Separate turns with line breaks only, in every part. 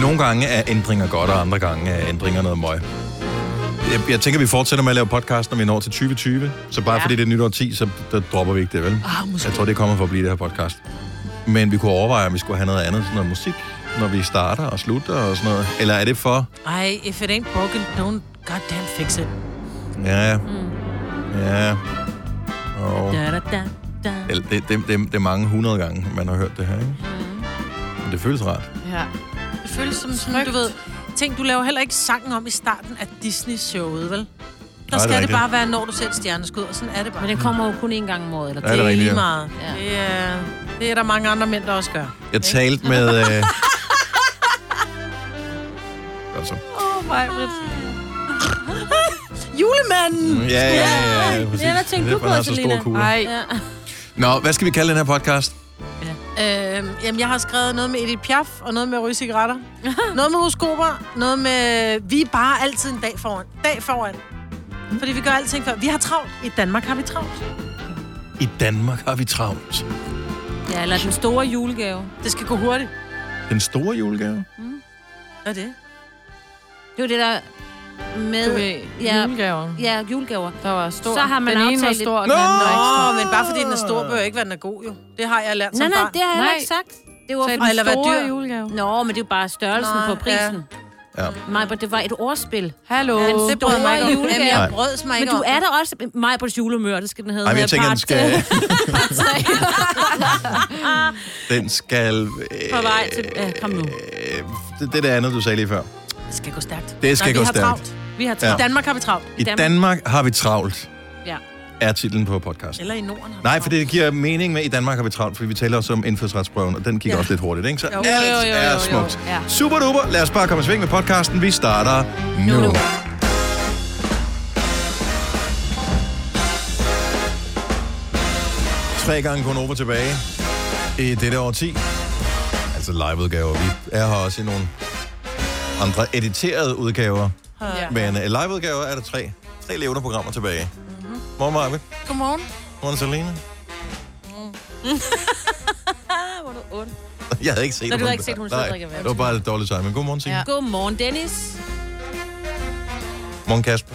nogle gange er ændringer godt, og andre gange er ændringer noget møg. Jeg, jeg tænker, vi fortsætter med at lave podcast, når vi når til 2020. Så bare ja.
Ja.
fordi det er nytår 10, så der dropper vi ikke det, vel?
Ah, måske.
Jeg tror, det er kommet for at blive det her podcast. Men vi kunne overveje, om vi skulle have noget andet, sådan noget musik, når vi starter og slutter og sådan noget. Eller er det for...
Ej, if it ain't broken, don't goddamn fix it.
Ja,
Mm.
ja... Og...
Da, da, da, da.
Det, det, det, det, det er mange hundrede gange, man har hørt det her, ikke?
Mm.
Men det føles rart.
Ja.
Det føles som sådan, du ved... Ting, du laver heller ikke sangen om i starten af Disney-showet, vel? Der
er
skal det
rigtigt.
bare være, når du ser et stjerneskud, og sådan er det bare.
Men den kommer jo kun én gang om året. Eller
Ja, det er
det er
rigtigt,
lige
ja.
meget.
Ja.
Det, er, det er der mange andre mænd, der også gør.
Jeg talte med... Øh... altså.
Åh, mig, Julemanden!
Mm. Ja, ja, ja, ja, præcis.
Ja, hvad tænkte du
Derfor har
på,
så
Selina?
store kugler.
Ej.
Ja.
Nå, hvad skal vi kalde den her podcast?
Øhm, jamen, jeg har skrevet noget med Edith Piaf, og noget med at ryge cigaretter. noget med horoskoper, noget med... Vi er bare altid en dag foran. Dag foran. Fordi vi gør alting før. Vi har travlt. I Danmark har vi travlt.
I Danmark har vi travlt.
ja, eller den store julegave.
Det skal gå hurtigt.
Den store julegave?
Hvad er det?
Det er jo det der med...
Du ved,
ja,
julegaver.
ja, julegaver.
Der var stor.
Så har man
den ene
aftalt
var
et-
stor, og den anden var ikke stor.
Åh, men bare fordi den er stor, bør ikke være, den er god, jo. Det har jeg lært som
Nej, nej,
barn.
det har jeg heller
Nej.
ikke sagt. Det var
Så er den
Eller hvad
store
dyr.
julegave.
Nå, men det er jo bare størrelsen på
Nå,
prisen.
Ja.
Mig, det var et ordspil.
Hallo.
Ja, det
Det brød mig
Store
ikke om. Jamen,
julegave.
jeg brød mig
Men
ikke
du
om.
er da også mig på julemør, det skal den hedde.
Ej, men jeg tænker, den skal...
Part-
den skal... Øh,
På vej til- ja, kom nu.
Øh, det, det er det andet, du sagde lige før.
Det skal gå stærkt.
Det skal
Nej,
gå
vi
stærkt.
Har travlt.
Vi har
Ja.
I
travlt.
Danmark har vi travlt.
I
Danmark.
Danmark har vi travlt,
Ja.
er titlen på podcasten.
Eller i Norden har vi
Nej,
travlt.
for det giver mening med, at i Danmark har vi travlt, fordi vi taler også om indfødsretsprøven, og den gik ja. også lidt hurtigt, ikke? Så jo, alt jo, jo, jo, er smukt. Jo,
ja.
Super duper. Lad os bare komme i sving med podcasten. Vi starter nu. nu. Tre gange kun over tilbage i dette år 10. Altså liveudgaver. Vi er her også i nogle andre editerede udgaver.
Ja.
Men øh, liveudgaver er der tre. Tre levende programmer tilbage. Mm-hmm. Morgen, Marve.
Godmorgen.
Morgen, Selina. Jeg havde ikke set,
Nå,
at
du havde ikke set, hun sad og
Nej,
drikker vand.
Det var bare lidt dårligt timing. Godmorgen, Signe. Ja.
Ja.
Godmorgen, Dennis.
Morgen, Kasper.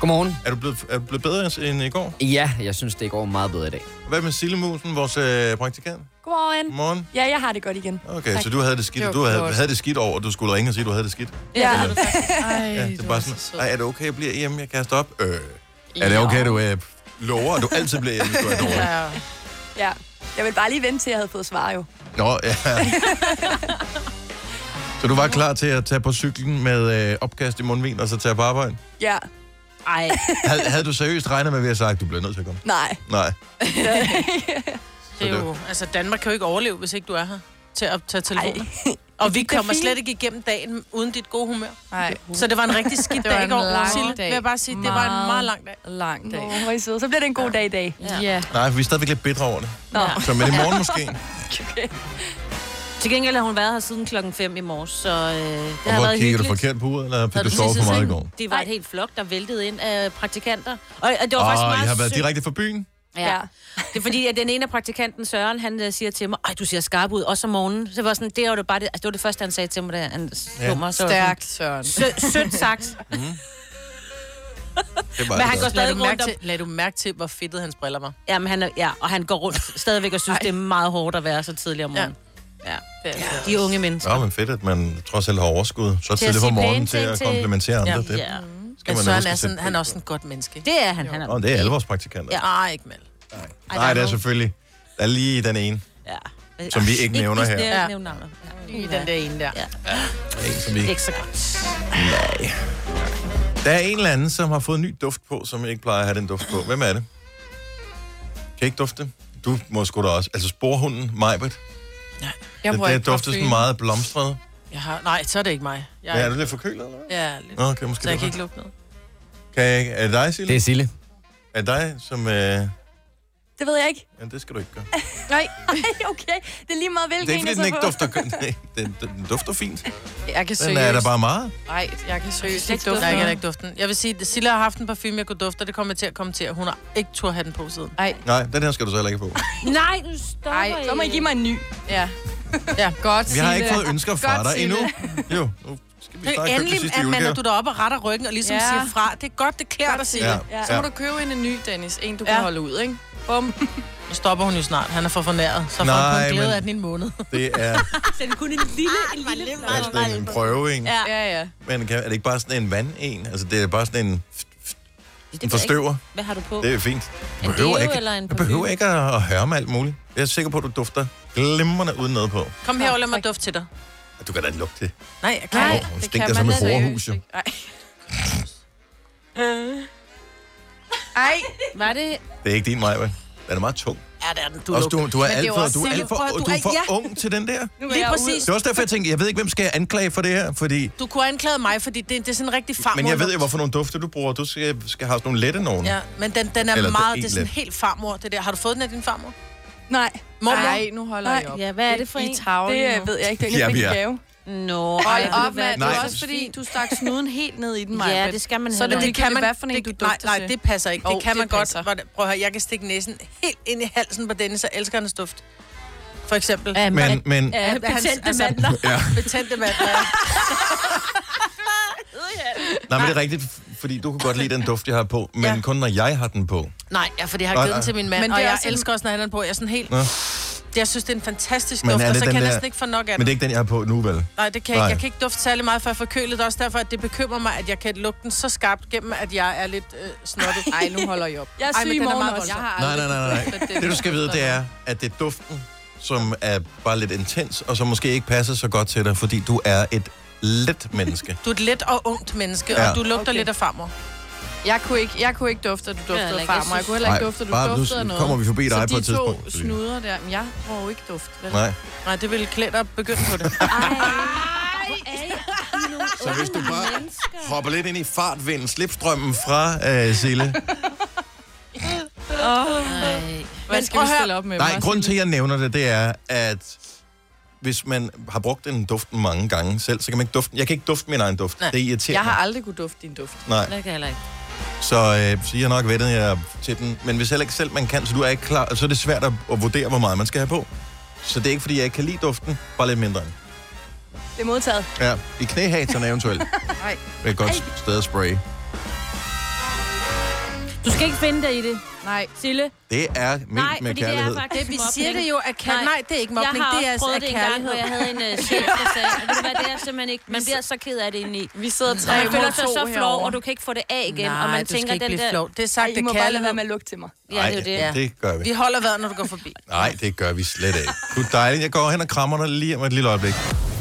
Godmorgen.
Er du, blevet, er du blevet bedre end i går?
Ja, jeg synes, det går meget bedre i dag.
Hvad med Sillemusen, vores øh, praktikant?
Godmorgen.
Morgen.
Ja, jeg har det godt igen.
Okay,
Tak.
så du havde det skidt.
Det var
du havde,
flot.
havde det skidt over, at du skulle ringe og sige, at du havde det skidt.
Ja.
Ej,
Ja, det er bare sådan, Ej, er det okay, jeg bliver hjemme, jeg kan stoppe? Øh, er det okay, du øh, lover, at du altid bliver hjemme, hvis du er dårlig?
Ja.
ja. Jeg vil bare lige vente til, jeg havde fået svar jo.
Nå, ja. Så du var klar til at tage på cyklen med øh, opkast i mundvin, og så tage på arbejde?
Ja.
Ej,
Havde, havde du seriøst regnet med, at vi havde sagt, at du bliver nødt til at komme?
Nej.
Nej.
Det er jo, altså Danmark kan jo ikke overleve, hvis ikke du er her til at tage telefonen. Og vi
gik da
kommer
fint.
slet ikke igennem dagen uden dit gode humør.
Nej,
Så det var en rigtig skidt
Det var
dag i
en
går,
lang
Sille.
dag.
Vil jeg bare sige, det var en
Meget.
meget lang dag.
lang dag.
Nå, hvor er I søde. Så bliver det en god dag i dag.
Ja.
Nej, for vi er stadigvæk lidt bedre over det.
Nå.
Så men i morgen måske.
til gengæld har hun været her siden klokken 5 i morges, så øh, det
Og
har
hvor
været
kigger
hyggeligt.
du forkert på uret, eller fik
Havde
du sovet for
tisset i
meget i
sengen?
går?
Det var et helt flok, der væltede ind af praktikanter. Og, og det var faktisk
Åh,
meget
jeg har været
sødt.
direkte fra byen.
Ja. Det er fordi, at den ene af praktikanten, Søren, han øh, siger til mig, ej, du ser skarp ud, også om morgenen. Så var sådan, det var det bare det, altså, det, var det første, han sagde til mig, da han slog
Ja. Mhm.
ja. mig. Så var jeg
Stærkt, Søren.
sådan, "Sø- Sødt sagt.
Det var
Men han
det.
går
Lad
stadig
du, mærke
rundt og
til, lad du mærke til, hvor fedtet hans briller var.
Jamen, han, er, ja, og han går rundt stadigvæk og synes, det er meget hårdt at være så tidlig om morgenen. Ja.
Det er
De unge mennesker.
Nå, men fedt, at man trods alt har overskud. Så
at
tidligt på
sige
morgenen
pæne
til
ting
at
til-
komplementere andre. Det
Ja.
skal
Men
man
Søren
huske
er,
at
sådan,
sætte
han
pris
er også en godt menneske.
Det er han. han er.
på. Nå, det er alle vores praktikanter.
Ja, ej, ikke mal.
Nej, det er selvfølgelig. Der er lige den ene,
Ja.
som vi ikke nævner her.
Ja.
Ja.
Nævne navnet.
I den der ene der.
Ja.
En, som vi
Det
ikke
er ikke så godt.
Der er en eller anden, som har fået en ny duft på, som ikke plejer at have den duft på. Hvem er det? Kan I ikke dufte? Du må sgu da også. Altså sporhunden, Majbert.
Jeg
Den
bruger
der
ikke
dufter sådan
parfume.
meget blomstret.
Jeg har, nej, så er det ikke mig. Jeg
Ja, er
er,
du lidt forkølet, eller hvad?
jeg er lidt,
Nå, okay, måske
så jeg kan
derfor.
ikke lukke noget.
Kan jeg ikke? Er det dig, Sille?
Det er Sille.
Er det dig, som... Øh...
Det ved jeg ikke.
Ja, det skal du ikke gøre.
Nej,
Ej, okay. Det er lige meget, hvilken
Det er ikke, fordi
jeg
den
så
ikke
får.
dufter... Nej, den, den, den dufter fint.
jeg kan
Den er der
seriøst.
bare meget.
Nej, jeg kan seriøst
Jeg
ikke
kan
dufte
Nej, jeg kan
noget.
da ikke dufte den. Jeg vil sige, at Silla har haft en parfume, jeg kunne dufte, og det kommer jeg til at kommentere. Hun har ikke tur have den på siden.
Ej,
Nej, den her skal du så heller ikke på.
Nej, nu stopper
Ej,
I.
Så må I give mig en ny.
ja.
Ja.
Godt,
Vi har
Signe.
ikke fået ønsker fra
Godt,
dig endnu.
Signe.
Jo, nu skal vi
Det er
starte købe det
endelig,
sidste
at man,
julegave.
når du er deroppe og retter ryggen og ligesom
Ja.
ja. siger fra. Det er godt, det klæder dig, Silla.
Ja,
Ja.
Så må du købe en, en ny, Dennis. En, du kan
Ja.
holde ud, ikke?
Bum.
Nu stopper hun jo snart. Han er for fornæret. Så får
Nej,
han kun glæde
men-
af den i en måned.
det er
Send kun en lille,
Ah,
en lille
er sådan en prøve, ikke?
Ja.
Ja, ja.
Men kan, er det ikke bare sådan en vand en? Altså, det er bare sådan en,
Det
en
ved jeg ikke.
forstøver.
Hvad har du på?
Det er fint.
En
Jeg behøver
deo
ikke,
eller en
jeg behøver
parfume?
ikke at at høre med alt muligt. Jeg er sikker på, at du dufter glimrende uden noget på.
Kom her og lad
tak.
mig dufte til dig.
Du kan da lugte det.
Nej, jeg kan
Nej,
ikke.
Åh, hun
det
stinker
kan
som
man
et
da seriøst
horehus, jo.
ikke. Ej.
Øh.
Ej,
Var det...
Det er ikke din vej, vel? Den er meget tung.
Ja, det er den. Du
Du, også, du, du er
Men det er
alt
jo
for,
også
du er alt
Silke.
for,
Prøv at- du
du er
er-
for
ja.
ung til den der.
nu er
Lige
jeg
præcis.
Det er også derfor, jeg tænkte, jeg ved ikke, hvem skal jeg anklage for det her, fordi...
Du kunne anklage mig, fordi det, det er sådan en rigtig farmor.
Men jeg ved jo, hvorfor nogle dufte du bruger. Du skal, skal have sådan nogle lette nogen.
Ja, men den, den
Eller
er Eller
det er
meget, det
en
er sådan
let.
helt farmor, det der. Har du fået den af din farmor?
ude. Nej,
Mormor?
Ej, nu holder
Nej,
jeg op.
Ja, hvad er det for en?
I tavlen
det øh,
nu.
ved jeg ikke. Det er
Ja,
ikke
vi
en
er.
gave.
Nå,
Hold
ej,
op, mand. Det
Nej.
er også fordi, du stak snuden helt ned i den, Maja.
Ja, det skal man
Så er det
heller
jo
ikke.
ligegyldigt, hvad for en du
nej,
dufter
nej,
til.
det passer ikke. Det
Jo,
kan man
det
godt.
passer.
Hvordan- Prøv at høre, jeg kan stikke næsen helt ind i halsen på denne, så elsker han duft. For eksempel. altså,
Ja,
Men, men,
Ja, betændte mandler.
Ja.
Betændte mandler, ja.
nej, men det er rigtigt, f- fordi du kunne godt lide den duft, jeg har på, men
Ja.
kun når jeg har den på.
Nej, ja, fordi jeg har
Nej,
givet den
nej.
til min mand,
Men det
og
er
jeg
også en-
elsker også, når han er på. Jeg er sådan helt...
Nå.
Jeg synes, det er en fantastisk
Men
duft,
er
og
det
så kan
den
jeg
der-
næsten ikke få nok
Men det
af den.
er ikke den, jeg har på nu, vel?
Nej, det kan jeg ikke.
Nej.
Jeg kan ikke dufte særlig meget, for jeg er forkølet. Det er Også derfor, at det bekymrer mig, at jeg kan lugte den så skarpt gennem, at jeg er lidt øh, snottet.
Ej, nu holder jeg op.
Jeg er
Ej,
syg
men
i
den er
morgen
meget
også.
Jeg
voldsom.
har
Nej,
aldrig
nej, nej,
duftet
nej. Det, du skal vide, det er, at det er duften, som er bare lidt intens, og som måske ikke passer så godt til dig, fordi du er et let menneske.
Du er et let og ungt menneske,
Ja.
og du lugter
Okay.
lidt af farmor.
Jeg kunne ikke, jeg kunne ikke dufte, at du
heller
duftede
ikke. Jeg
farmor. Jeg
synes-
kunne heller ikke
Nej,
dufte, at du
bare nu
duftede af noget.
kommer vi forbi dig
så
på et tidspunkt,
de to
Selina.
snuder der, men jeg må jo ikke dufte. Vel?
Nej.
Nej, det ville klæde dig at begynde på det.
Så hvis du bare hopper lidt ind i fartvinden, slipstrømmen fra øh, Sille.
Hvad skal vi
prøv at
stille op med?
Nej,
Bare
grunden til,
sige
at jeg nævner det, det er, at hvis man har brugt den duft mange gange selv, så kan man ikke dufte Jeg kan ikke dufte min egen duft.
Nej.
Det
lidt.
irriterer
Jeg har
mig.
aldrig kunne dufte din duft.
Nej.
Det kan jeg heller ikke.
Så, øh, så jeg har nok vendet jer til den. Men hvis heller ikke selv man kan, så du er ikke klar, så er det svært at, at vurdere, hvor meget man skal have på. Så det er ikke, fordi jeg ikke kan lide duften, bare lidt mindre. end.
Det er modtaget.
Ja, i knæhaterne eventuelt.
Nej.
Det er et godt sted at spraye.
Du skal ikke finde dig i det,
Nej.
Sille.
Det er ment
Nej,
med
fordi det er
kærlighed.
faktisk
Vi
mobning.
siger det jo af
Nej.
kærlighed. Nej, det er ikke
Jeg
mobning,
har
det
også
er altså
prøvet
af
det en gang, hvor jeg
kærlighed.
havde en uh, chef, der sagde, at det, det er simpelthen ikke, man bliver så ked af det indeni.
Vi sidder tre
Man føler
mod
sig
to
så flov,
herovre.
og du kan ikke få det af igen,
Nej,
og man
du
tænker,
skal ikke
den
blive
der...
flov. Det er sagt,
Ej, I
det
må
er
bare lade være
kærlighed.
med at lugte til mig.
Ja, det er jo det.
Ej, det gør vi.
Vi holder vejret, når du går forbi.
Nej, det gør vi slet ikke. Du er dejlig. Jeg går hen og krammer dig lige om et lille øjeblik.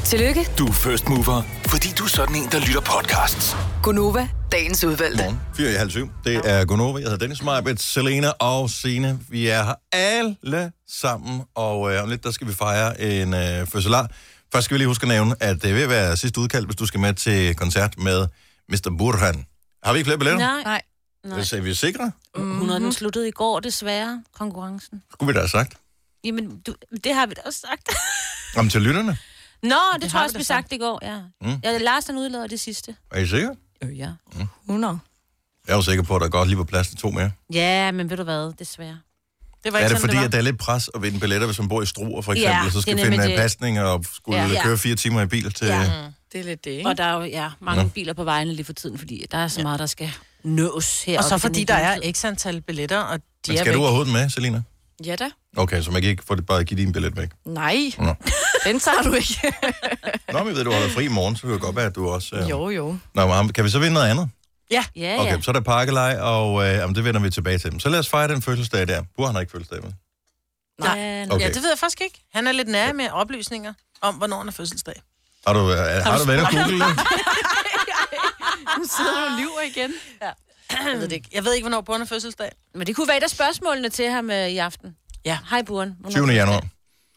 Tillykke,
Du er first mover, fordi du er sådan en, der lytter podcasts.
Gunova, dagens udvalgte.
Godmorgen. 4 i halv syv. Det er Gunova. Jeg hedder Dennis Meibet, Selena og Sine. Vi er her alle sammen, og øh, om lidt der skal vi fejre en øh, fødselar. Først skal vi lige huske at nævne, at det vil være sidste udkald, hvis du skal med til koncert med Mr. Burhan. Har vi ikke flere billetter?
Nej,
Nej.
nej. Mhm.
Så er vi sikre?
100 den sluttede i går, desværre, konkurrencen.
Skulle vi da have sagt.
Jamen, du, det har vi da også sagt.
Om til lytterne.
Nå, det, det tror jeg
har vi
også,
da
vi
sagt.
sagt i går, ja. Mm. ja Lars, han udlader det sidste.
Er I sikre?
Øh, ja.
100.
Jeg er jo sikker på, at der godt lige var plads til to mere.
Ja, men ved du hvad, desværre.
Det var
Er
ikke
det
sådan,
fordi,
det var.
at der er lidt pres at vinde billetter, hvis man bor i Struer for eksempel,
Ja,
og så skal
det er
finde
nemlig
en
det.
pasning og skulle
Ja.
køre fire timer i bil til...
Ja. Mm.
Mm.
Det er lidt det, ikke?
Og der er jo ja, mange biler på vejene lige for tiden, fordi der er så meget, der skal nås her.
Og så fordi der er x antal billetter, og de
Men
er
skal du
væk.
overhovedet med, Selina?
Ja da.
Okay, så man kan ikke få det bare at give din billet væk.
Nej,
Nå.
den tager du ikke.
Nå, men jeg ved, du holder fri i morgen, så kan det godt være, at du også... Øh...
jo, jo.
Nå, men ham- kan vi så vinde noget andet?
Ja, ja.
Okay, så er der pakkelej, og øh, jamen, det vender vi tilbage til. Så lad os fejre den fødselsdag der. Du har ikke fødselsdag, vel?
Nej.
Okay.
Ja, det ved jeg faktisk ikke. Han er lidt nær med oplysninger om, hvornår han er fødselsdag.
Har du, øh, har du været inde og google det?
Nu sidder du og lyver igen.
Jeg ved, det ikke. jeg ved ikke, hvornår Born er fødselsdag.
Men det kunne være et af spørgsmålene til ham øh, i aften.
Ja.
Hej, Buren. Hvornår-
20. januar.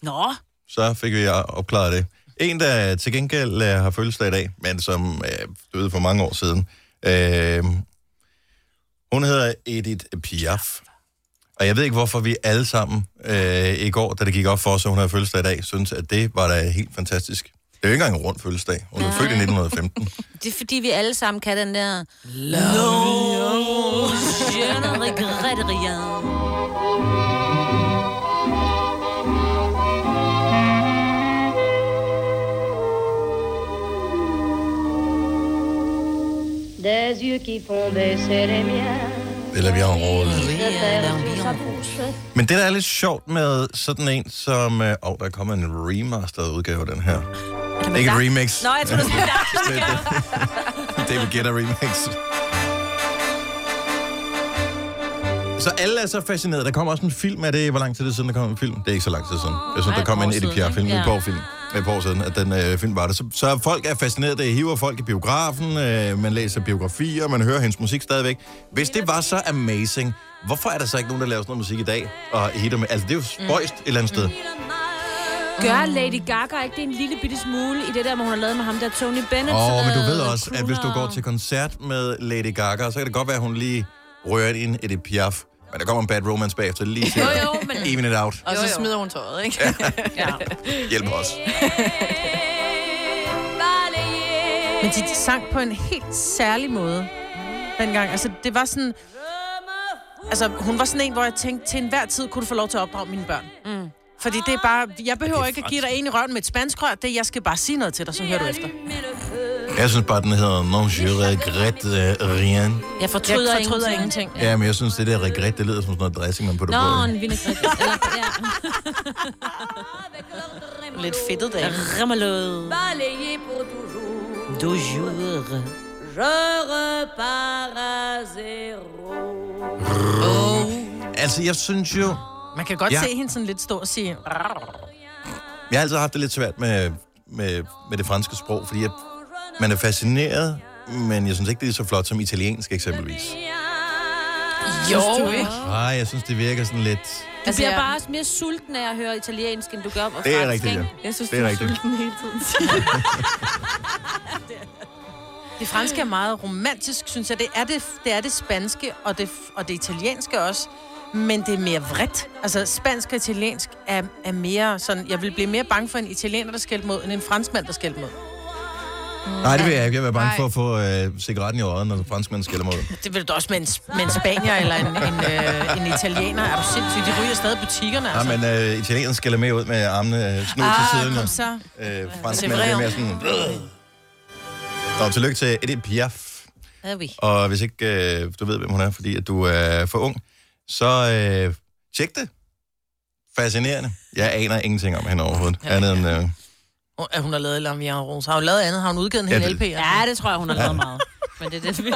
Nå,
Så fik vi opklaret det. En, der til gengæld øh, har fødselsdag i dag, men som øh, døde for mange år siden. Øh, hun hedder Edith Piaf. Og Og jeg ved ikke, hvorfor vi alle sammen øh, i går, da det gik op for os, at hun havde fødselsdag i dag, synes at det var da helt fantastisk. Det er jo ikke engang en rund fødselsdag. Hun er født i 1915.
Det er fordi, vi alle sammen kan den der... Love Je ne regrette rien.
Des yeux qui font baisser les miens.
Eller vi har en rolle.
Se perdre sous sa bouche.
Men det, der er lidt sjovt med sådan en som... Åh, øh, oh, der er kommet en remasteret udgave af den her. Ikke et remix.
Nå, jeg tror, du skal
Det er David Guetta remix. Så alle er så fascineret. Der kommer også en film af det. Hvor lang tid er det siden, der kom en film? Det er ikke så lang tid siden. Jeg synes,
Ej,
der
et
kom
år
en Eddie
siden,
Pierre-film,
ikke?
ja.
Ja.
en bogfilm et par år siden, at den øh, film var der. Så, så folk er fascineret, det hiver folk i biografen, øh, man læser biografier, man hører hendes musik stadigvæk. Hvis det var så amazing, hvorfor er der så ikke nogen, der laver sådan noget musik i dag? Og hitter med, altså det er jo spøjst et eller andet sted.
Gør Lady Gaga ikke det en lille bitte smule i det der, hvor hun har lavet med ham der Tony Bennett?
Åh, oh,
sådan
men du ved
noget
også, at hvis du går
cooler-
til koncert med Lady Gaga, så kan det godt være, at hun lige rører ind i en Edith Piaf. Men der kommer en bad romance bagefter lige til.
Jo, jo, men...
Even it out.
Og så smider hun tøjet, ikke?
Hjælp os.
Men de sang på en helt særlig måde dengang. Altså, det var sådan... Altså, hun var sådan en, hvor jeg tænkte, til enhver tid kunne du få lov til at opdrage mine børn. Mm. Fordi det er bare... Jeg behøver ikke at give dig en i røven med et spansk rør. Det, jeg skal bare sige noget til dig, så hører du efter.
Jeg synes bare, den hedder Non je regrette øh, rien.
Jeg fortryder,
Jeg fortryder
ingenting.
Ja, men jeg synes, det der regret, det lyder som sådan noget dressing, man putter
Nå,
på.
en vinaigrette. Eller, ja.
Lidt fedtet dag.
Remmelød.
Balayé pour toujours.
Du jure.
Je repars à zéro.
Altså, jeg synes jo...
Man kan godt
Ja.
ja. se hende sådan lidt stå og sige...
Jeg har altid haft det lidt svært med, med, med det franske sprog, fordi jeg, man er fascineret, men jeg synes ikke, det er så flot som italiensk eksempelvis.
Jo, ikke?
Nej, jeg synes, det virker sådan lidt...
Du
Altså,
bliver
jeg-
bare også mere sulten af at høre italiensk, end du gør om
Det er rigtigt, ja.
Jeg synes,
Det er rigtigt.
Det franske er meget romantisk, synes jeg. Det er det, det, er det spanske og det, og det italienske også. Men det er mere vredt. Altså, spansk og italiensk er, er mere sådan... Jeg vil blive mere bange for en italiener, der skælder mod, end en franskmand, der skælder mod.
Nej, det vil jeg ikke. Jeg vil være bange for at få øh, cigaretten i øjet, når franskmænd skælder mod.
Det vil du også med en, sp- med en spanier eller en, en, øh, en italiener. Er du sindssyg? De ryger stadig i butikkerne,
Nej,
altså.
men øh, italienerne skælder mere ud med armene øh, snu til siden.
Ah, kom så. Altså,
Øh, franskmænd er lidt mere
vrede.
sådan... Øh. Nå, tillykke til Edith Piaf.
Er vi.
Og hvis ikke øh, du ved, hvem hun er, fordi at du er for ung, så øh, tjek det. Fascinerende. Jeg aner ingenting om hende overhovedet. Andet end, øh,
Hun- at hun har lavet Lamia Rose. Har hun lavet andet? Har hun udgivet en
Ja,
hel
det-
LP? Altså?
Ja, det tror jeg, hun har lavet meget. Men det er det, vi...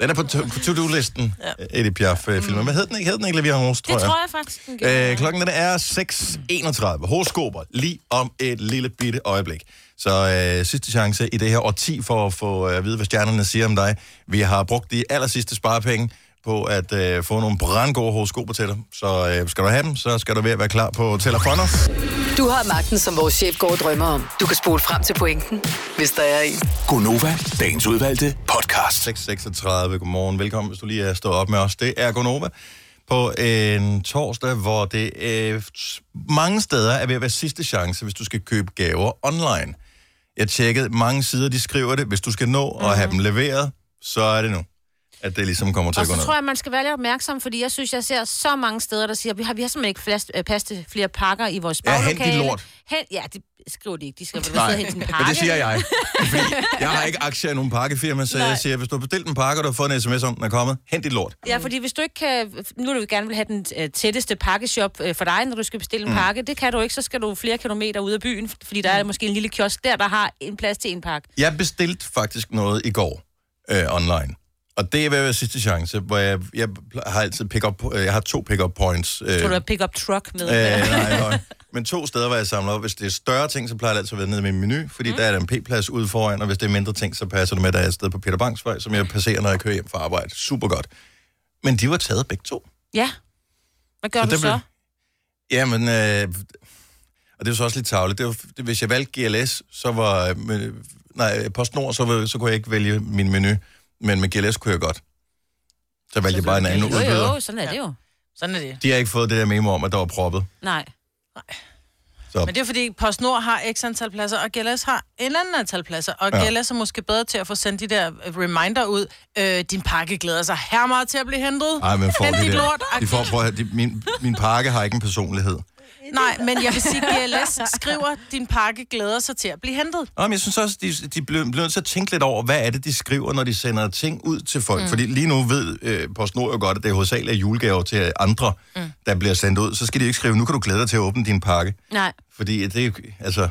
den er på to- på to-do-listen, ja. Edith Piaf-filmen. Hvad hed den ikke? Hed den ikke Levian Rose, tror
Det
jeg?
tror jeg faktisk, den gjorde.
Øh, klokken den er 6.31. Horoskoper lige om et lille bitte øjeblik. Så øh, sidste chance i det her årti for at få øh, at vide, hvad stjernerne siger om dig. Vi har brugt de aller sidste sparepenge på at øh, få nogle brandgode horoskoper til dig. Så øh, skal du have dem, så skal du ved at være klar på telefoner.
Du har magten, som vores chef går og drømmer om. Du kan spole frem til pointen, hvis der er en.
Gonova, dagens udvalgte podcast.
6.36. Godmorgen. Velkommen, hvis du lige er stået op med os. Det er Gonova på en torsdag, hvor det øh, mange steder er ved at være sidste chance, hvis du skal købe gaver online. Jeg tjekkede mange sider, de skriver det. Hvis du skal nå at have dem leveret, så er det nu, at det ligesom kommer til
Mhm. Og
at gå
så
ned.
tror jeg, man skal være lidt opmærksom, fordi jeg synes, jeg ser så mange steder, der siger, vi har, vi har simpelthen ikke plads, øh, plads til flere pakker i vores
Ja, hent
baglokale.
dit lort.
Hen, ja, det skriver de ikke. De skriver, at
Nej,
sidder hen til en pakke.
men det siger jeg. Fordi jeg har ikke aktier i nogen pakkefirma, så jeg siger, hvis du har bestilt en pakke, og du har fået en sms om, den er kommet, hent dit lort.
Ja, fordi hvis du ikke kan... Nu vil du gerne vil have den øh, tætteste pakkeshop øh, for dig, når du skal bestille en mm. pakke. Det kan du ikke, så skal du flere kilometer ud af byen, fordi der
Mm.
er måske en lille kiosk der, der har en plads til en pakke.
Jeg bestilte faktisk noget i går øh, online. Og det er ved at være sidste chance, hvor jeg, jeg har altid pick-up, øh, jeg har to pick-up points. Øh,
Så du har pick-up truck med.
øh,
Øh.
nej, nej. Men to steder, hvor jeg samler op. Hvis det er større ting, så plejer det altid at være nede i min menu, fordi mm. der er der en p-plads ude foran, og hvis det er mindre ting, så passer det med, at der er et sted på Peter Bangs vej, som jeg passerer, når jeg kører hjem fra arbejde. Super godt. Men de var taget begge to.
Ja. Hvad gør så du
der
så?
blev- Jamen, øh, og det var så også lidt tavligt. Det var, det, hvis jeg valgte GLS, så var... øh, men, øh, nej, PostNord, så, var, så kunne jeg ikke vælge min menu. Men med GLS kunne jeg godt. Så valgte jeg bare en anden
Jo,
udbyder.
jo, sådan er det jo.
Sådan er det.
De har ikke fået det der memo om, at der var proppet.
Nej.
Så.
Men det er fordi, PostNord har x antal pladser, og GLS har en anden antal pladser. Og
Ja.
ja. GLS er måske bedre til at få sendt de der øh, reminder ud. Øh, din pakke glæder sig her meget til at blive hentet.
Ej, men får
Hent
de
dit
der.
lort.
De får, prøv at, høre, de, min, min pakke har ikke en personlighed.
Nej, men jeg vil sige, GLS skriver, din pakke glæder sig til at blive hentet.
Nå, men jeg synes også, de, de bliver bliver nødt til at tænke lidt over, hvad er det, de skriver, når de sender ting ud til folk.
Mm.
Mm. Fordi lige nu ved øh, PostNord jo godt, at det er hovedsageligt er julegaver til andre, mm. der bliver sendt ud. Så skal de ikke skrive, nu kan du glæde dig til at åbne din pakke.
Nej.
Fordi det er jo- altså...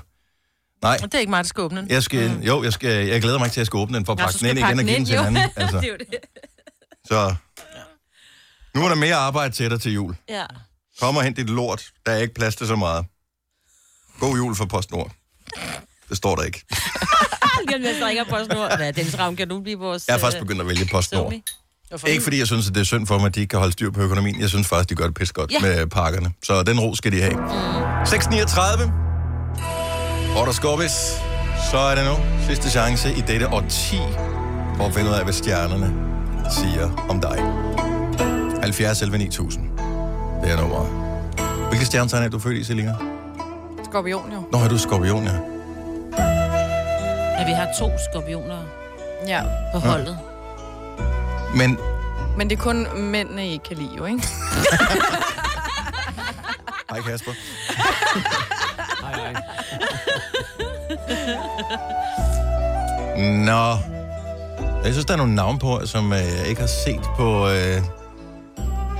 Nej,
Det er ikke mig, der skal åbne den.
jeg skal, mm. jo, jeg, skal, jeg glæder mig ikke til, at jeg skal åbne den for at
Nå,
pakke den
så
ind
skal
igen og
pakke
give den
den
til en anden.
ind,
Altså,
jo. Det er jo det.
så nu er der mere arbejde til dig til jul.
Ja.
Kom og hent dit lort. Der er ikke plads til så meget. God jul for PostNord. Det står der ikke.
Lige om lidt, så ringer PostNord. Hvad, Dennis Ravn, kan du blive vores...
Jeg er faktisk
øh,
begyndt at vælge PostNord.
Zomi?
Ikke fordi jeg synes, at det er synd for mig, at de ikke kan holde styr på økonomien. Jeg synes faktisk, de gør det pis godt
Ja.
ja. med pakkerne. Så den ro skal de have. 6.39. Og der skorpes. Så er det nu sidste chance i dette årti for at finde ud af, hvad stjernerne siger om dig. 70 11 9000. Det er nummer. Hvilke stjernetegn er du født i, Selina?
Skorpion jo.
Nå, er du skorpion, ja.
Ja, vi har to skorpioner
Ja.
på holdet.
Men
Men det er kun mændene, I ikke kan lide jo, ikke?
Hej Kasper.
Hej, hej.
Nå. Jeg synes, der er nogle navne på, som øh, jeg ikke har set på øh,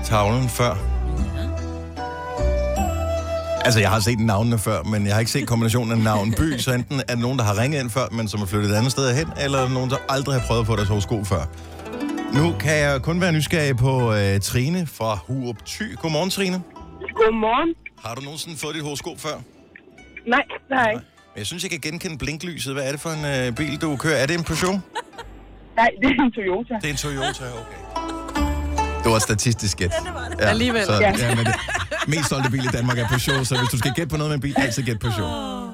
tavlen før. Altså, jeg har set navnene før, men jeg har ikke set kombinationen af navn by, så enten er det nogen, der har ringet ind før, men som er flyttet et andet sted hen, eller nogen, der aldrig har prøvet at få deres horoskop før. Nu kan jeg kun være nysgerrig på øh, Trine fra Hurup Thy. Godmorgen, Trine.
Godmorgen.
Har du nogensinde fået dit horoskop før?
Nej, det har jeg ikke.
Jeg synes, jeg kan genkende blinklyset. Hvad er det for en øh, bil, du kører? Er det en Peugeot?
Nej, det er en Toyota.
Det er en Toyota, okay. Det var et statistisk gæt.
Ja, Alligevel.
Så,
Ja.
ja, men det mest solgte bil i Danmark er Peugeot, så hvis du skal gætte på noget med en bil, altid gæt Peugeot.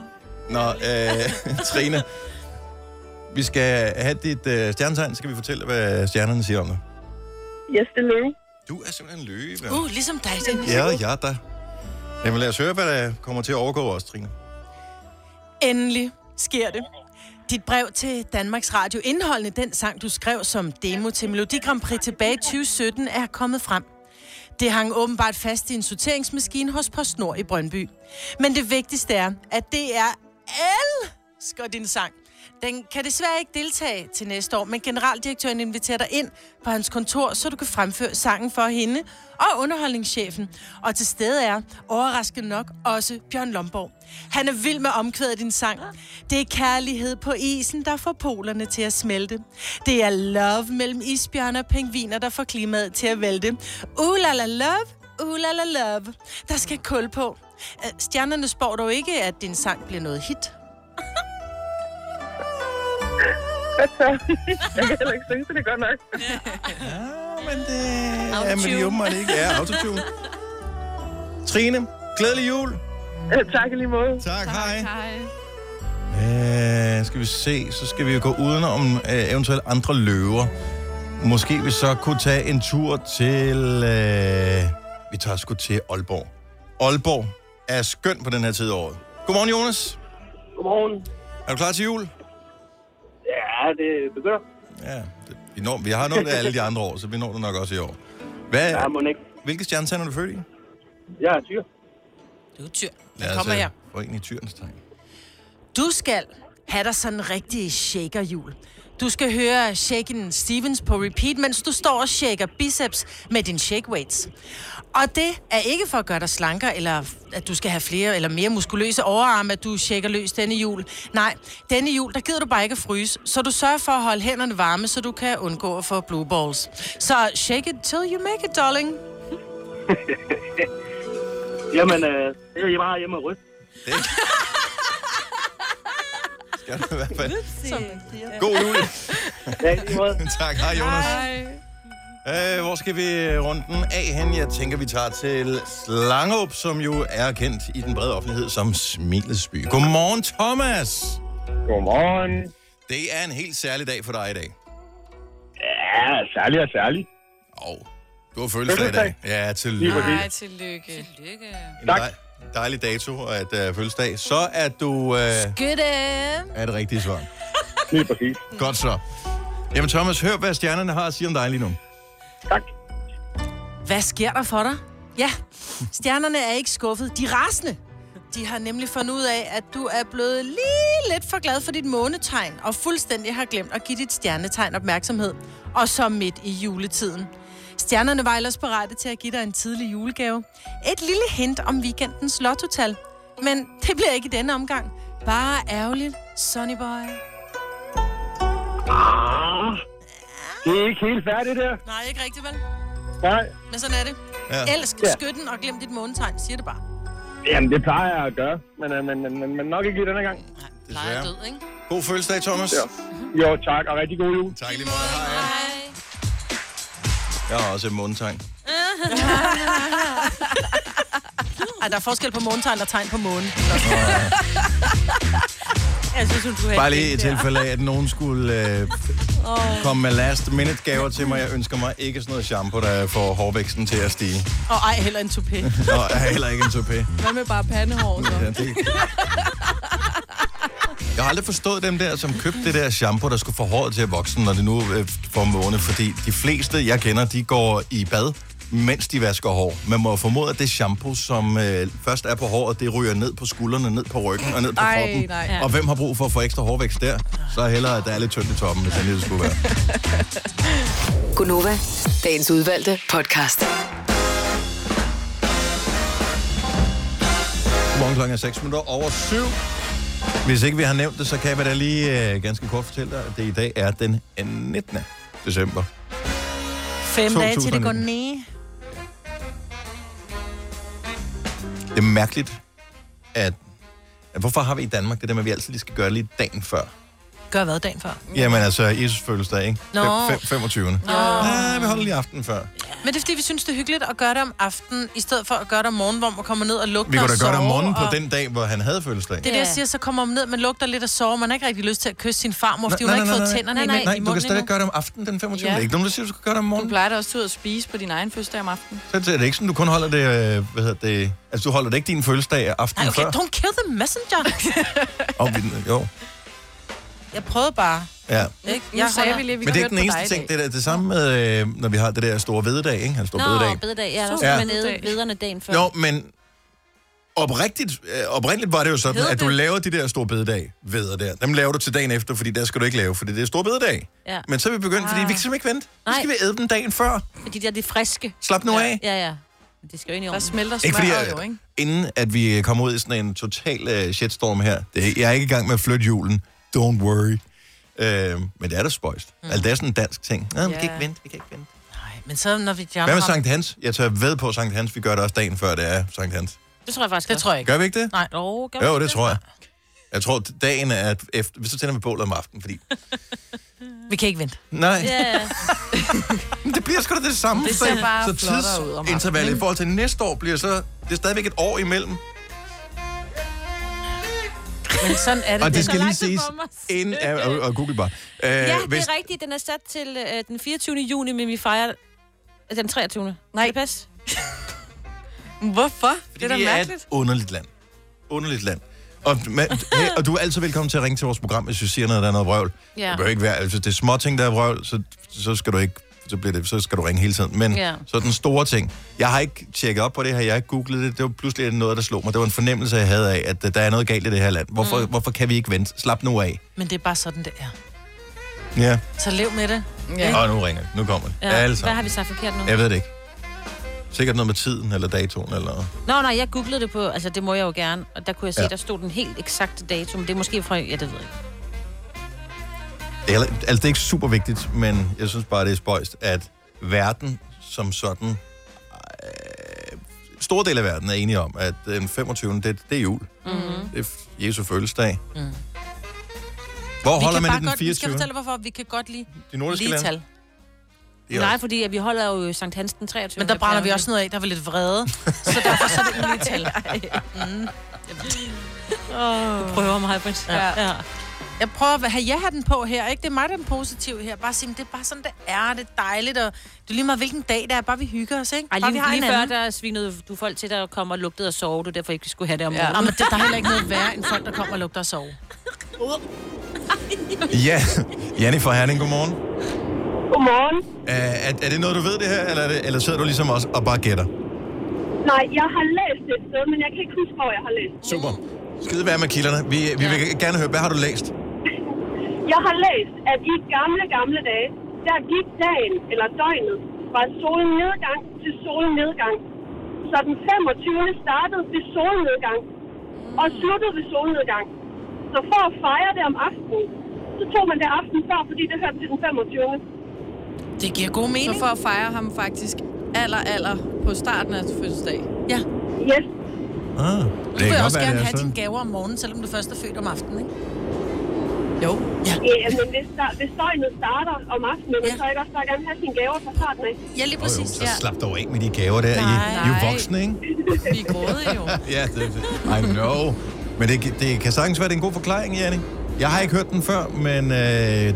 Nå, øh, Trine, vi skal have dit øh, stjernetegn, så skal vi fortælle, hvad stjernerne siger om dig.
Yes, det er løve.
Du er simpelthen løve.
Uh, ligesom dig, Dennis.
Ja, ja da. Jamen lad os høre, hvad der kommer til at overgå os, Trine.
Endelig sker det. Dit brev til Danmarks Radio indholdende den sang, du skrev som demo til Melodi Grand Prix tilbage i 2017, er kommet frem. Det hang åbenbart fast i en sorteringsmaskine hos PostNord i Brøndby. Men det vigtigste er, at det er elsker din sang. Den kan desværre ikke deltage til næste år, men generaldirektøren inviterer dig ind på hans kontor, så du kan fremføre sangen for hende og underholdningschefen. Og til stede er, overraskende nok, også Bjørn Lomborg. Han er vild med omkvædet af din sang. Det er kærlighed på isen, der får polerne til at smelte. Det er love mellem isbjørne og pingviner, der får klimaet til at vælte. Uh la la love, Uh, la, la, love. Der skal kul på. Øh, Stjernerne spår dog ikke, at din sang bliver noget hit.
Godt så. Jeg kan heller ikke synge, så det er godt nok.
men det... Ja, men de åbenbart ikke. Ja, autotune. Trine, glædelig jul.
Øh, Tak i lige måde.
Tak, hej.
Hej.
Øh, skal vi se, så skal vi jo gå udenom øh, eventuelt andre løver. Måske vi så kunne tage en tur til... Øh, vi tager sgu til Aalborg. Aalborg er skøn på den her tid af året. Godmorgen, Jonas.
Godmorgen.
Er du klar til jul?
Ja, det begynder.
Ja, det, vi, når, vi har nået det alle de andre år, så vi når det nok også i år. Hvad,
Ja, må ikke.
hvilke stjernetegn er du født i?
Jeg er tyr.
Du er tyr.
Lad os
kommer
øh,
her.
få en i tyrens tegn.
Du skal have dig sådan en rigtig shakerhjul. Du skal høre Shaken Stevens på repeat, mens du står og shaker biceps med din shake weights. Og det er ikke for at gøre dig slankere, eller at du skal have flere eller mere muskuløse overarme, at du shaker løs denne jul. Nej, denne jul, der gider du bare ikke at fryse, så du sørger for at holde hænderne varme, så du kan undgå at få blue balls. Så shake it till you make it, darling.
Jamen, øh, det er jo bare hjemme og ryste.
Skal du i hvert fald.
Som man siger.
God jul.
Ja, i lige måde.
tak, hej Jonas.
Hej.
Øh, hvor skal vi runde den af hen? Jeg tænker, vi tager til Slangerup, som jo er kendt i den brede offentlighed som Smilets by. Godmorgen, Thomas!
Godmorgen.
Det er en helt særlig dag for dig i dag.
Ja, særlig og særlig.
Og du God fødselsdag i dag. Ja,
Lige
tillykke.
Nej, tillykke. Tillykke.
En dej, dejlig dato at øh, fødselsdag. Så er du... Øh,
Good
er det rigtige svar. Lige præcis. Godt så. Jamen Thomas, hør hvad stjernerne har at sige om dig lige nu.
Hvad sker der for dig? Ja, stjernerne er ikke skuffet. De er rasende. De har nemlig fundet ud af, at du er blevet lige lidt for glad for dit månetegn, og fuldstændig har glemt at give dit stjernetegn opmærksomhed. Og så midt i juletiden. Stjernerne var ellers berettet til at give dig en tidlig julegave. Et lille hint om weekendens lottotal. Men det bliver ikke i denne omgang. Bare ærgerligt, Sonny Boy.
Ah, det er ikke helt færdigt der.
Nej, ikke rigtigt, vel?
Nej.
Men sådan er det.
Ja.
Ja. Elsk
Ja.
skytten og glem dit månetegn, siger det bare.
Jamen, det plejer jeg at gøre, men, øh, men, men, men, men nok ikke lige denne gang.
Desværre. God fødselsdag, Thomas.
Ja. Jo, tak, og rigtig god jul.
Tak lige meget. Jeg har også et månetegn.
Ej, der er forskel på månetegn og tegn på månen. Jeg synes, hun skulle have
Bare lige i
et der.
tilfælde af, at nogen skulle øh, komme med last minute gaver til mig. Jeg ønsker mig ikke sådan noget shampoo, der får hårvæksten til at stige.
Og ej, heller en toupé.
Nå, jeg har heller ikke en toupé.
Hvad med bare pandehår, så?
Ja, det... Jeg har aldrig forstået dem der, som købte det der shampoo, der skulle få håret til at vokse, når det nu øh, får måne, fordi de fleste, jeg kender, de går i bad, mens de vasker hår. Man må formode, at det shampoo, som øh, først er på håret, det ryger ned på skuldrene, ned på ryggen og ned på
Ej,
kroppen.
nej.
Og hvem har brug for at få ekstra hårvækst der? Så er hellere, at der er lidt tyndt i toppen, hvis det lige skulle være.
Gunova, dagens udvalgte podcast.
Godmorgen klokken er 6 minutter over 7. Hvis ikke vi har nævnt det, så kan jeg da lige øh, ganske kort fortælle dig, at det i dag er den 19. december.
Fem dage til det går
2019.
ned.
Det er mærkeligt, at, at hvorfor har vi i Danmark det der med, at vi altid lige skal gøre det lige dagen før?
Gør hvad dagen før?
Jamen altså, Jesus fødselsdag, ikke?
Nå.
Fem- fem- 25. Nå. Ja, vi holder lige aftenen før.
Men det er, fordi vi synes, det er hyggeligt at gøre det om aftenen, i stedet for at gøre det om morgenen, hvor man kommer ned og lugter
Vi kunne
og
da gøre det om
sover,
morgenen på
og...
den dag, hvor han havde fødselsdag.
Det er det, jeg siger, så kommer man ned, man lugter lidt og sover, man har ikke rigtig lyst til at kysse sin farmor, fordi hun
Nej,
har ikke
nej,
fået
nej, nej,
tænderne i
nej,
munden
nej, du kan stadig
endnu.
gøre det om aftenen den 25. Ja.
Ja.
Det er ikke nogen, der siger, du skal gøre det om
Du
morgenen.
plejer da også til at spise på din egen fødselsdag om aftenen.
Så er det ikke sådan, du kun holder det, øh, hvad hedder det, altså du holder det ikke din fødselsdag aftenen
Nej, okay,
før.
don't kill the messenger.
Og vi, jo,
jeg prøvede bare.
ja.
Ikke?
Nu sagde vi lige, at vi
Men det er
kørte
ikke den
på
eneste
dig i
ting,
dag.
det er det samme med, øh, når vi har det der store vededag, ikke? Han store
Nå,
bededag.
bededag. Ja, der
Ja.
skal man æde vederne dagen før.
Jo, men oprigtigt, øh, oprindeligt var det jo sådan,
Hedder
at du
det?
laver de der store bededag veder der. Dem laver du til dagen efter, fordi der skal du ikke lave, fordi det er store bededag.
Ja. Ah.
Men så er vi begyndt, fordi vi kan simpelthen ikke vente. Nu skal vi æde dem dagen før.
Fordi de er de friske.
Slap nu
ja.
af.
Ja, ja. Men Det skal jo ind i ovnen. Der
smelter
Ikke fordi, jeg, inden at vi kommer ud i sådan en total øh, shitstorm her, det, jeg er ikke i gang med at flytte julen. Don't worry. Øh, men det er da spøjst. Mm. Altså, det er sådan en dansk ting. Ja, man kan ikke vente. vi kan ikke vente.
Nej, men så når vi... de andre
Hvad med
har-
Sankt Hans? Jeg tør ved på Sankt Hans. Vi gør det også dagen før, det er Sankt Hans.
Det tror jeg faktisk
Det tror jeg ikke.
Gør vi ikke det?
Nej. Jo, gør
Jo, det tror jeg. Jeg tror, dagen er at efter... Så tænder vi bålet om aftenen, fordi...
Vi kan ikke vente.
Nej.
Ja.
Men det bliver sgu da det samme.
Det ser
så-
bare
så
flottere ud om aftenen,
tidsintervallet i forhold til næste år bliver så... Det er stadigvæk et år imellem.
Men sådan er det.
og
er
det skal
så
lige
langt
siges,
for mig.
inden, og, og- og Google bare. Øh,
Ja, det er rigtigt. Den er sat til øh, den 24. juni, men vi fejrer den 23. Nej. Kan det passe?
Hvorfor?
fordi vi et underligt land. Underligt land. Og, man, hey, og du er altid velkommen til at ringe til vores program, hvis du siger noget, der er noget vrøvl.
Ja.
Det behøver ikke være, altså det er små ting, der er vrøvl, så, så skal du ikke så, bliver det, så skal du ringe hele tiden. Men
Ja.
ja. så den store ting. Jeg har ikke tjekket op på det her, jeg har ikke googlet det. Det var pludselig noget, der slog mig. Det var en fornemmelse, jeg havde af, at øh, der er noget galt i det her land. Hvorfor, mm. hvorfor kan vi ikke vente? Slap nu af.
Men det er bare sådan, det er.
Ja.
Så lev med det.
ja. Og nu ringer det. Nu kommer det. Ja. Alle
Hvad
sammen.
har vi sagt forkert nu?
Jeg ved det ikke. Sikkert noget med tiden eller datoen eller...
Nå, nej, jeg googlede det på, altså det må jeg jo gerne, og der kunne jeg se,
Ja.
ja. der stod den helt eksakte dato, men det er måske fra, ja, det ved jeg ikke.
Det er, heller- altså, det er ikke super vigtigt, men jeg synes bare, det er spøjst, at verden som sådan... Øh, stor del af verden er enige om, at den 25. Det, det er jul.
Mm-hmm.
Det er f- Jesu fødselsdag.
Mm.
Hvor holder man det den
godt, Vi skal
24.?
fortælle, hvorfor vi kan godt lide
De nordiske
lige
lande.
tal.
Det er
Nej, fordi at vi holder jo Sankt Hans den 23.
Men der brænder vi også noget af, der er vi lidt vrede. Så derfor så er det lige tal. Mm.
Mm-hmm. Åh, oh. prøver mig, Britt. Ja. ja.
Jeg prøver at have ja-hatten på her, ikke? Det er mig, der er den positive her. Bare sige, men det er bare sådan, det er. Det er dejligt, og det er lige meget, hvilken dag det er. Bare vi hygger os, ikke?
Ej,
bare,
lige,
vi har
lige før,
hinanden.
der svinede du folk til, der kommer og lugtede og sove, du derfor ikke skulle have det om
Ja, men det, der er heller ikke noget værre, end folk, der kommer og lugter og sover.
Ja, Janni fra Herning, godmorgen.
Godmorgen.
Er, er, er det noget, du ved det her, eller, er det, eller sidder du ligesom os og bare gætter?
Nej, jeg har læst det et sted, men jeg kan ikke huske, hvor jeg har læst.
Super. Skide være med kilderne. Vi, vi ja. vil gerne høre, hvad har du læst?
Jeg har læst, at i gamle, gamle dage, der gik dagen, eller døgnet, fra solnedgang til solnedgang. Så den 25. startede ved solnedgang, og sluttede ved solnedgang. Så for at fejre det om aftenen, så tog man det aften før, fordi det hørte til den 25.
Det giver god mening.
Så for at fejre ham faktisk aller, aller på starten af hans fødselsdag.
Ja.
Yes.
Ah,
Du
kan
vil
godt
også
være,
gerne
det er
have
sådan.
dine gaver om morgenen, selvom du først er født om aftenen, ikke?
Jo.
Ja.
Ja, Øh, altså, men hvis, der, hvis døgnet starter om aftenen, ja. så er det også bare gerne have sine gaver fra starten af.
Ja, lige
Jo, så slap dog af med de gaver der. I, I er jo
Nej.
voksne, ikke?
Vi er grådige jo.
ja, det, det- I know. Men det, det kan sagtens være, det er en god forklaring, Janni. Jeg har ikke hørt den før, men øh,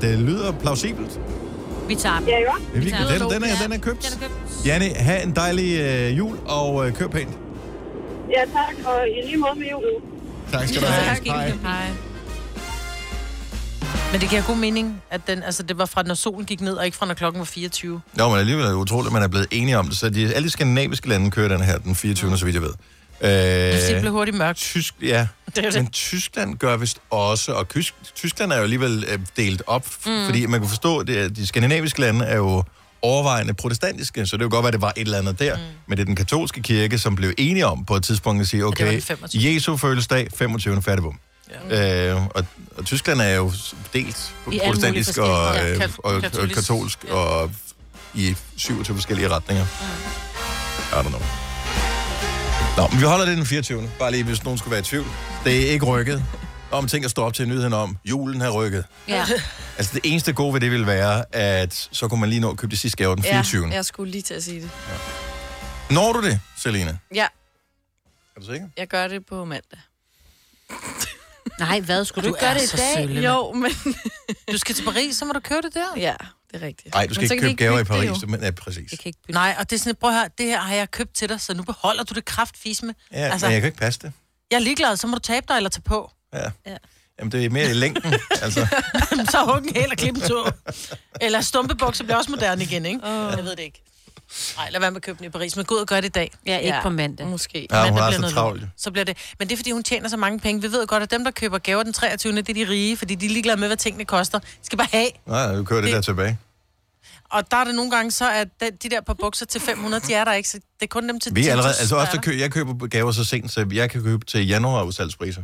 det lyder plausibelt.
Vi tager den.
Ja, jo.
er virkelig- den- den er- den er købt.
Den er købt.
Janni, have en dejlig øh, jul, og øh, kør pænt.
Ja, tak, og i lige måde med julen.
Tak skal du have.
Hej. Men det giver god mening, at den, altså, det var fra, når solen gik ned, og ikke fra, når klokken var 24.
Jo, men alligevel er det utroligt, at man er blevet enige om det. Så de, alle de skandinaviske lande kører den her den 24. så vidt jeg ved. Øh,
Det blev hurtigt mørkt.
Tysk, ja.
Det er det.
Men Tyskland gør vist også, og Kysk, Tyskland er jo alligevel øh, delt op, mm.
Mm.
fordi man kan forstå, at det er- de skandinaviske lande er jo overvejende protestantiske, så det kan godt være, at det var et eller andet der. Mm. Men det er den katolske kirke, som blev enige om på et tidspunkt at sige,
var
okay,
den 25..
Jesu fødselsdag, 25. fattigbom. Ja. Øh, og, og Tyskland er jo s- delt på
I alle
protestantisk
mulige
og,
forskellige-
øh,
Ja,
og, og
kat- katolisk.
katolsk, og i 27 forskellige retninger. I don't know. Nå, men vi holder det den 24. Bare lige, hvis nogen skulle være i tvivl. Det er ikke rykket. Om ting at stå op til nyheden om. Julen har rykket.
Ja.
Altså, det eneste gode ved det ville være, at så kunne man lige nå at købe de sidste gaver den 24.
Ja, jeg skulle lige til at sige det.
Når du det, Selina?
Ja,
Er du sikker?
jeg gør det på mandag.
Nej, hvad? Skulle du,
Du
ikke gøre
er
det i
så
dag?
sølle, mand. Jo, men...
du skal til Paris, så må du køre det der.
Ja, det er rigtigt.
Nej, du skal ikke købe gaver i Paris. Det, men, ja, præcis.
Jeg
Ja,
kan ikke
bytte. Nej, og det er sådan, prøv at høre, det her har jeg købt til dig, så nu beholder du det kraftfisme.
altså... men jeg kan ikke passe det.
jeg er ligeglad, så må du tabe dig eller tage på.
Ja. ja. Jamen, det er mere i længden. altså,
så hug en hæl og klip en tå. Eller stumpebukser bliver også moderne igen, ikke? Oh. Jeg ved det ikke. Nej, lad være med at købe den i Paris, men gå ud og gør det i dag.
Ja, ikke på mandag.
Måske.
Ja, hun
Mandag
har
bliver
så
noget
travlt,
lort.
jo.
Så bliver det. Men det er, fordi hun tjener så mange penge. Vi ved jo godt, at dem, der køber gaver den 23. det er de rige, fordi de er ligeglade med, hvad tingene koster. De skal bare have.
nej, du kører det, det der tilbage.
Og der er det nogle gange så, at den- de der par bukser til 500, de er der ikke. Så det er kun dem til
Vi er
10.000,
allerede, altså
der
ofte
er
kø, jeg køber gaver så sent, så jeg kan købe til januar udsalgspriser.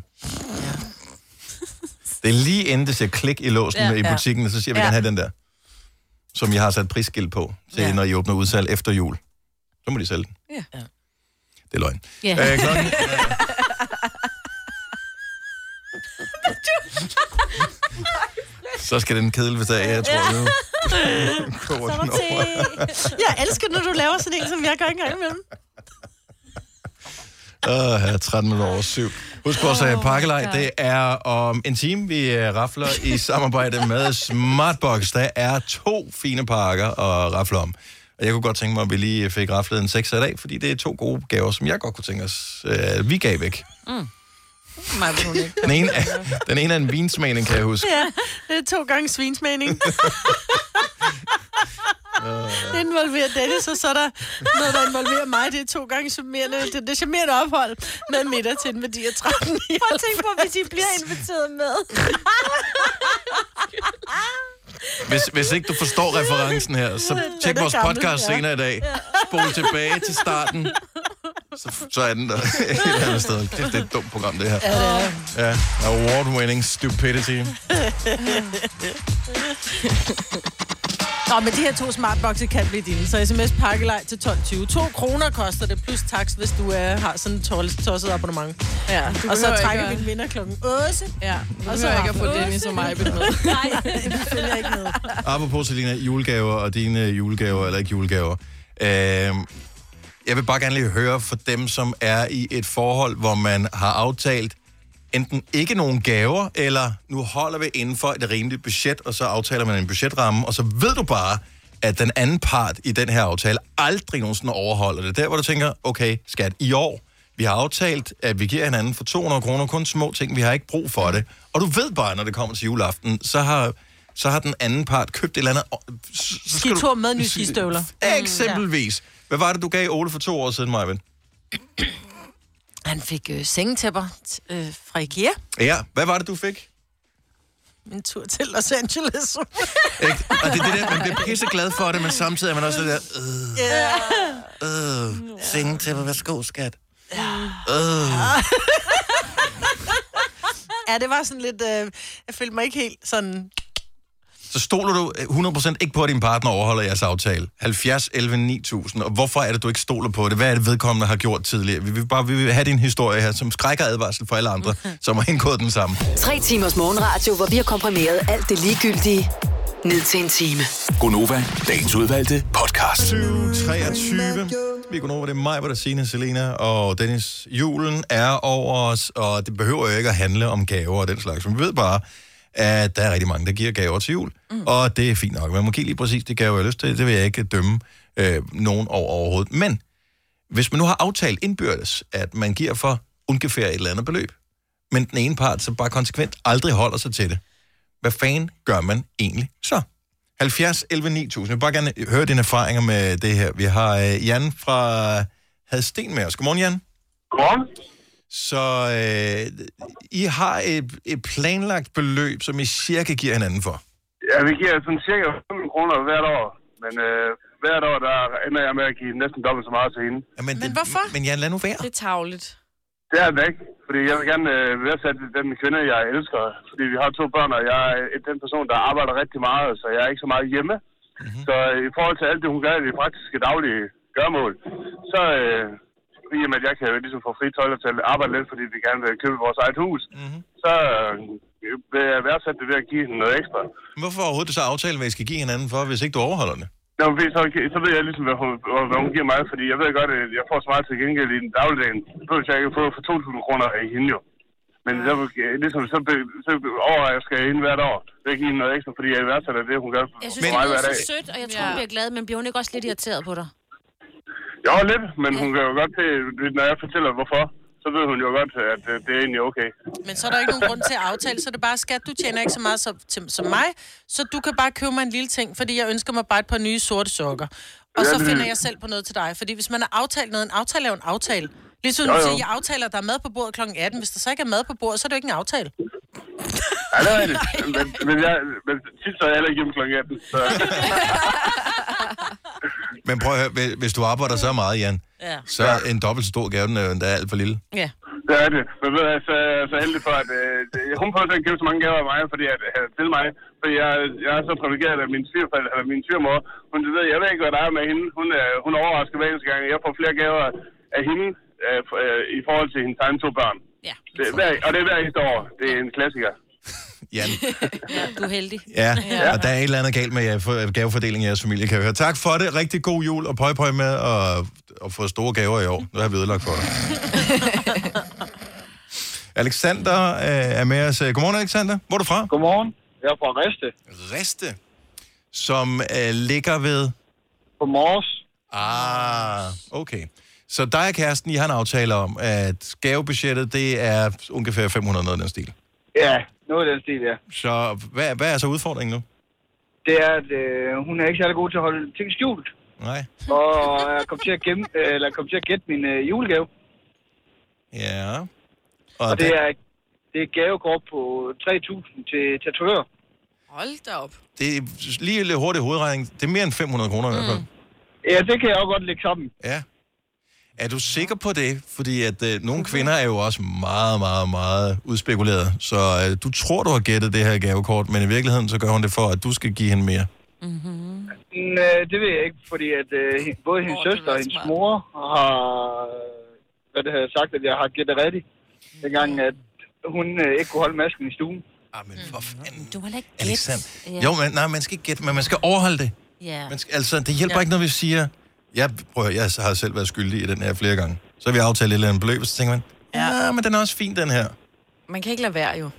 Det er lige inden det siger klik i låsen
Ja.
ja, i
Ja.
butikken, og så siger vi
Ja.
ja. gerne have den der, som jeg har sat prisskilt på, til
Ja.
ja. når I åbner udsalg efter jul. Så må de sælge den.
Ja.
Det er løgn.
Ja.
Øh, klokken, så skal den kedel, hvis der er, jeg tror. Ja. Kommer den over.
Jeg elsker, når du laver sådan en, som jeg gør en gang imellem.
Åh, her er 13 minutter over syv. Husk vores oh, pakkelej, det er om en time, vi øh, rafler i samarbejde med Smartbox. Der er to fine pakker at rafle om. Og jeg kunne godt tænke mig, at vi lige fik raflet en 6 i dag, fordi det er to gode gaver, som jeg godt kunne tænke os, øh, vi gav væk.
Mm. Nej, det er hun ikke.
Den ene er, den ene er en vinsmagning, kan jeg huske.
Ja, det er to gange svinsmening.
Øh,
det involverer Dennis, og så er der noget, der involverer mig. Det er to gange charmerende, det, det er charmerende ophold med middag til en værdi af 13. Prøv at tænke på, hvis I bliver inviteret med.
Hvis, hvis ikke du forstår referencen her, så tjek
Den er
vores
gammel,
podcast
ja.
senere i dag. Spol tilbage til starten. Så, så er den der et eller andet sted. Kæft, det er et dumt program, det her.
Ja, det
Ja, award-winning stupidity.
Nå, men de her to smartboxe kan blive dine, så sms pakkelej til 12.20. 2 kroner koster det, plus tax, hvis du øh, har sådan en tol- tosset abonnement.
Ja, du
og så
behøver
trækker vi
ikke
en
at-
vinder klokken 8.
Ja,
og
behøver ikke at få
Affen.
Dennis og mig med.
Nej, vi følger ikke med.
Apropos, Selina, julegaver og dine julegaver, eller ikke julegaver. Øhm, jeg vil bare gerne lige høre for dem, som er i et forhold, hvor man har aftalt, enten ikke nogen gaver, eller nu holder vi inden for et rimeligt budget, og så aftaler man en budgetramme, og så ved du bare, at den anden part i den her aftale aldrig nogensinde overholder det. Der, hvor du tænker, okay, skat, i år, vi har aftalt, at vi giver hinanden for 200 kroner kun små ting, vi har ikke brug for det. Og du ved bare, når det kommer til juleaften, så har, så har den anden part købt et eller andet... og så- så skal du-
Skitur med nye skistøvler.
Eksempelvis. Hvad var det, du gav Ole for to år siden, Marvin?
Han fik øh, sengetæpper t- øh, fra IKEA.
Ja, hvad var det, du fik?
En tur til Los Angeles.
Ikke? Og det er det der, man bliver pisseglad for det, men samtidig er man også det der,
Ja.
øh, øh, sengetæpper, værsgo, skat. Øh.
ja, det var sådan lidt... Øh, jeg følte mig ikke helt sådan...
Så stoler du øh, 100% ikke på, at din partner overholder jeres aftale. 70, 11, 9000. Og hvorfor er det, du ikke stoler på det? Hvad er det, vedkommende har gjort tidligere? Vi vil bare vi vil have din historie her, som skrækker advarsel for alle andre, som har indgået den samme.
Tre timers morgenradio, hvor vi har komprimeret alt det ligegyldige ned til en time.
Gonova, dagens udvalgte podcast.
23. Vi går over det er mig, hvor der Signe, Selena og Dennis. Julen er over os, og det behøver jo ikke at handle om gaver og den slags. Men vi ved bare, at der er rigtig mange, der giver gaver til jul. Mm. Og det er fint nok. Man må give lige præcis de gaver, jeg har lyst til. Det vil jeg ikke dømme øh, nogen over overhovedet. Men hvis man nu har aftalt indbyrdes, at man giver for ungefær et eller andet beløb, men den ene part så bare konsekvent aldrig holder sig til det, hvad fanden gør man egentlig så? 70 11 9000. Jeg vil bare gerne høre dine erfaringer med det her. Vi har øh, Jan fra Hadsten med os. Godmorgen, Jan. Godmorgen. Så øh, I har et, et planlagt beløb, som I cirka giver hinanden for.
Ja, vi giver sådan cirka 500 kroner hvert år, men øh, hvert år, der ender jeg med at give næsten dobbelt så meget til hende.
Jamen,
men hvorfor?
Men Jan, lad nu være.
Det er tavligt.
Det er det ikke, fordi jeg vil gerne øh, værdsætte den kvinde, jeg elsker, fordi vi har to børn, og jeg er den person, der arbejder rigtig meget, så jeg er ikke så meget hjemme. Mm-hmm. Så øh, i forhold til alt det, hun gør i det praktiske daglige gørmål, så øh, i og med, at jeg kan jo ligesom få fri tøjler til at arbejde lidt, fordi vi gerne vil købe vores eget hus, mm-hmm. så øh, vil jeg værdsætte det ved at give hende noget ekstra.
Men Hvorfor overhovedet så aftale, hvad I skal give hinanden for, hvis ikke du overholder det?
Nå, men så, så ved jeg ligesom, hvad hun, hvad hvad hun giver mig, fordi jeg ved godt, at jeg får så meget til gengæld i den dagligdagen. Det behøver jeg ikke at få for 2.000 kroner af hende jo. Men så, ligesom, så, be, så overrasker jeg hende hvert år. Det giver hende noget ekstra, fordi jeg værdsætter det, hun gør
Jeg synes,
for
men,
mig
det
hver
er
dag.
så sødt, og jeg tror, hun bliver glad, men bliver hun ikke også lidt irriteret på dig?
Jo, lidt, men hun kan jo godt til, når jeg fortæller hvorfor, så ved hun jo godt, at øh, det er egentlig okay.
Men så er der ikke nogen grund til at aftale, så er det bare, skat, du tjener ikke så meget som, til, som mig, så du kan bare købe mig en lille ting, fordi jeg ønsker mig bare et par nye sorte sokker. Og
Ja,
så
det-
finder jeg selv på noget til dig. Fordi hvis man har aftalt noget, en aftale er jo en aftale. Ligesom
Jo,
du
jo.
siger, jeg aftaler, at der er mad på bordet kl. 18. Hvis der så ikke er mad på bordet, så er det jo ikke en aftale.
Ja, det er rigtigt. Men, men, jeg, men tit så er jeg heller ikke hjemme kl. 18. Så.
Men prøv at høre, hvis- hvis du arbejder så meget, Jan,
Ja.
så er en dobbelt så stor gave, den er, den er alt for lille.
Ja.
Det er det. Men ved jeg, så, så heldig for, at øh, det- hun prøver at give så mange gaver af mig, fordi at, øh, til mig. Fordi jeg, jeg er så privilegeret af min svigerforældre, eller min svigermor. Hun du ved, jeg ved ikke, hvad der er med hende. Hun, øh, hun overrasker hver eneste gang. Jeg får flere gaver af hende øh, f- øh, i forhold til hendes egne to børn.
Ja.
Det, er hver, og det er hver eneste år. Det er en klassiker.
Jan.
Ja, du er heldig.
Ja, ja, og der er et eller andet galt med jer, for gavefordelingen i jeres familie, kan jeg høre. Tak for det. Rigtig god jul, og pøj pøj med at, at få store gaver i år. Nu har vi ødelagt for dig. Alexander øh, er med os. Godmorgen, Alexander. Hvor er du fra?
Godmorgen. Jeg er fra Riste.
Riste, som øh, ligger ved...
På Mors.
Ah, okay. Så dig og kæresten, I har en aftale om, at gavebudgettet, det er ungefær 500 noget af den stil.
Ja, noget af den stil, ja.
Så hvad, hvad er så udfordringen nu?
Det er, at øh, hun er ikke særlig god til at holde ting skjult.
Nej.
Og jeg kom til at, gemme, øh, eller kom til at gætte min øh, julegave.
Ja.
Og, og det, er, det er et gavekort på 3.000 til tatovør.
Hold da op.
det er lige lidt hurtig hovedregning. Det er mere end 500 kroner mm. i hvert fald.
Ja, det kan jeg jo godt lægge sammen.
Ja. Er du sikker på det? Fordi at øh, nogle kvinder er jo også meget, meget, meget udspekuleret. Så øh, du tror, du har gættet det her gavekort, men i virkeligheden så gør hun det for, at du skal give hende mere.
Men, øh, det ved jeg ikke, fordi at, øh, hen- både hendes søster og hendes mor har øh, hvad det hedder, sagt, at jeg har gættet rigtigt. Dengang, at hun øh, ikke kunne holde masken i stuen.
Ah, men for fanden.
Du har ikke
Alexander.
Ja.
Jo, men, nej, man skal ikke gætte, men man skal overholde det.
Ja.
Man skal, altså, det hjælper ja. ikke, når vi siger... Jeg, prøver, jeg har selv været skyldig i den her flere gange. Så har vi aftalt et eller andet beløb, og så tænker man, ja, men den er også fin, den her.
Man kan ikke lade være, jo.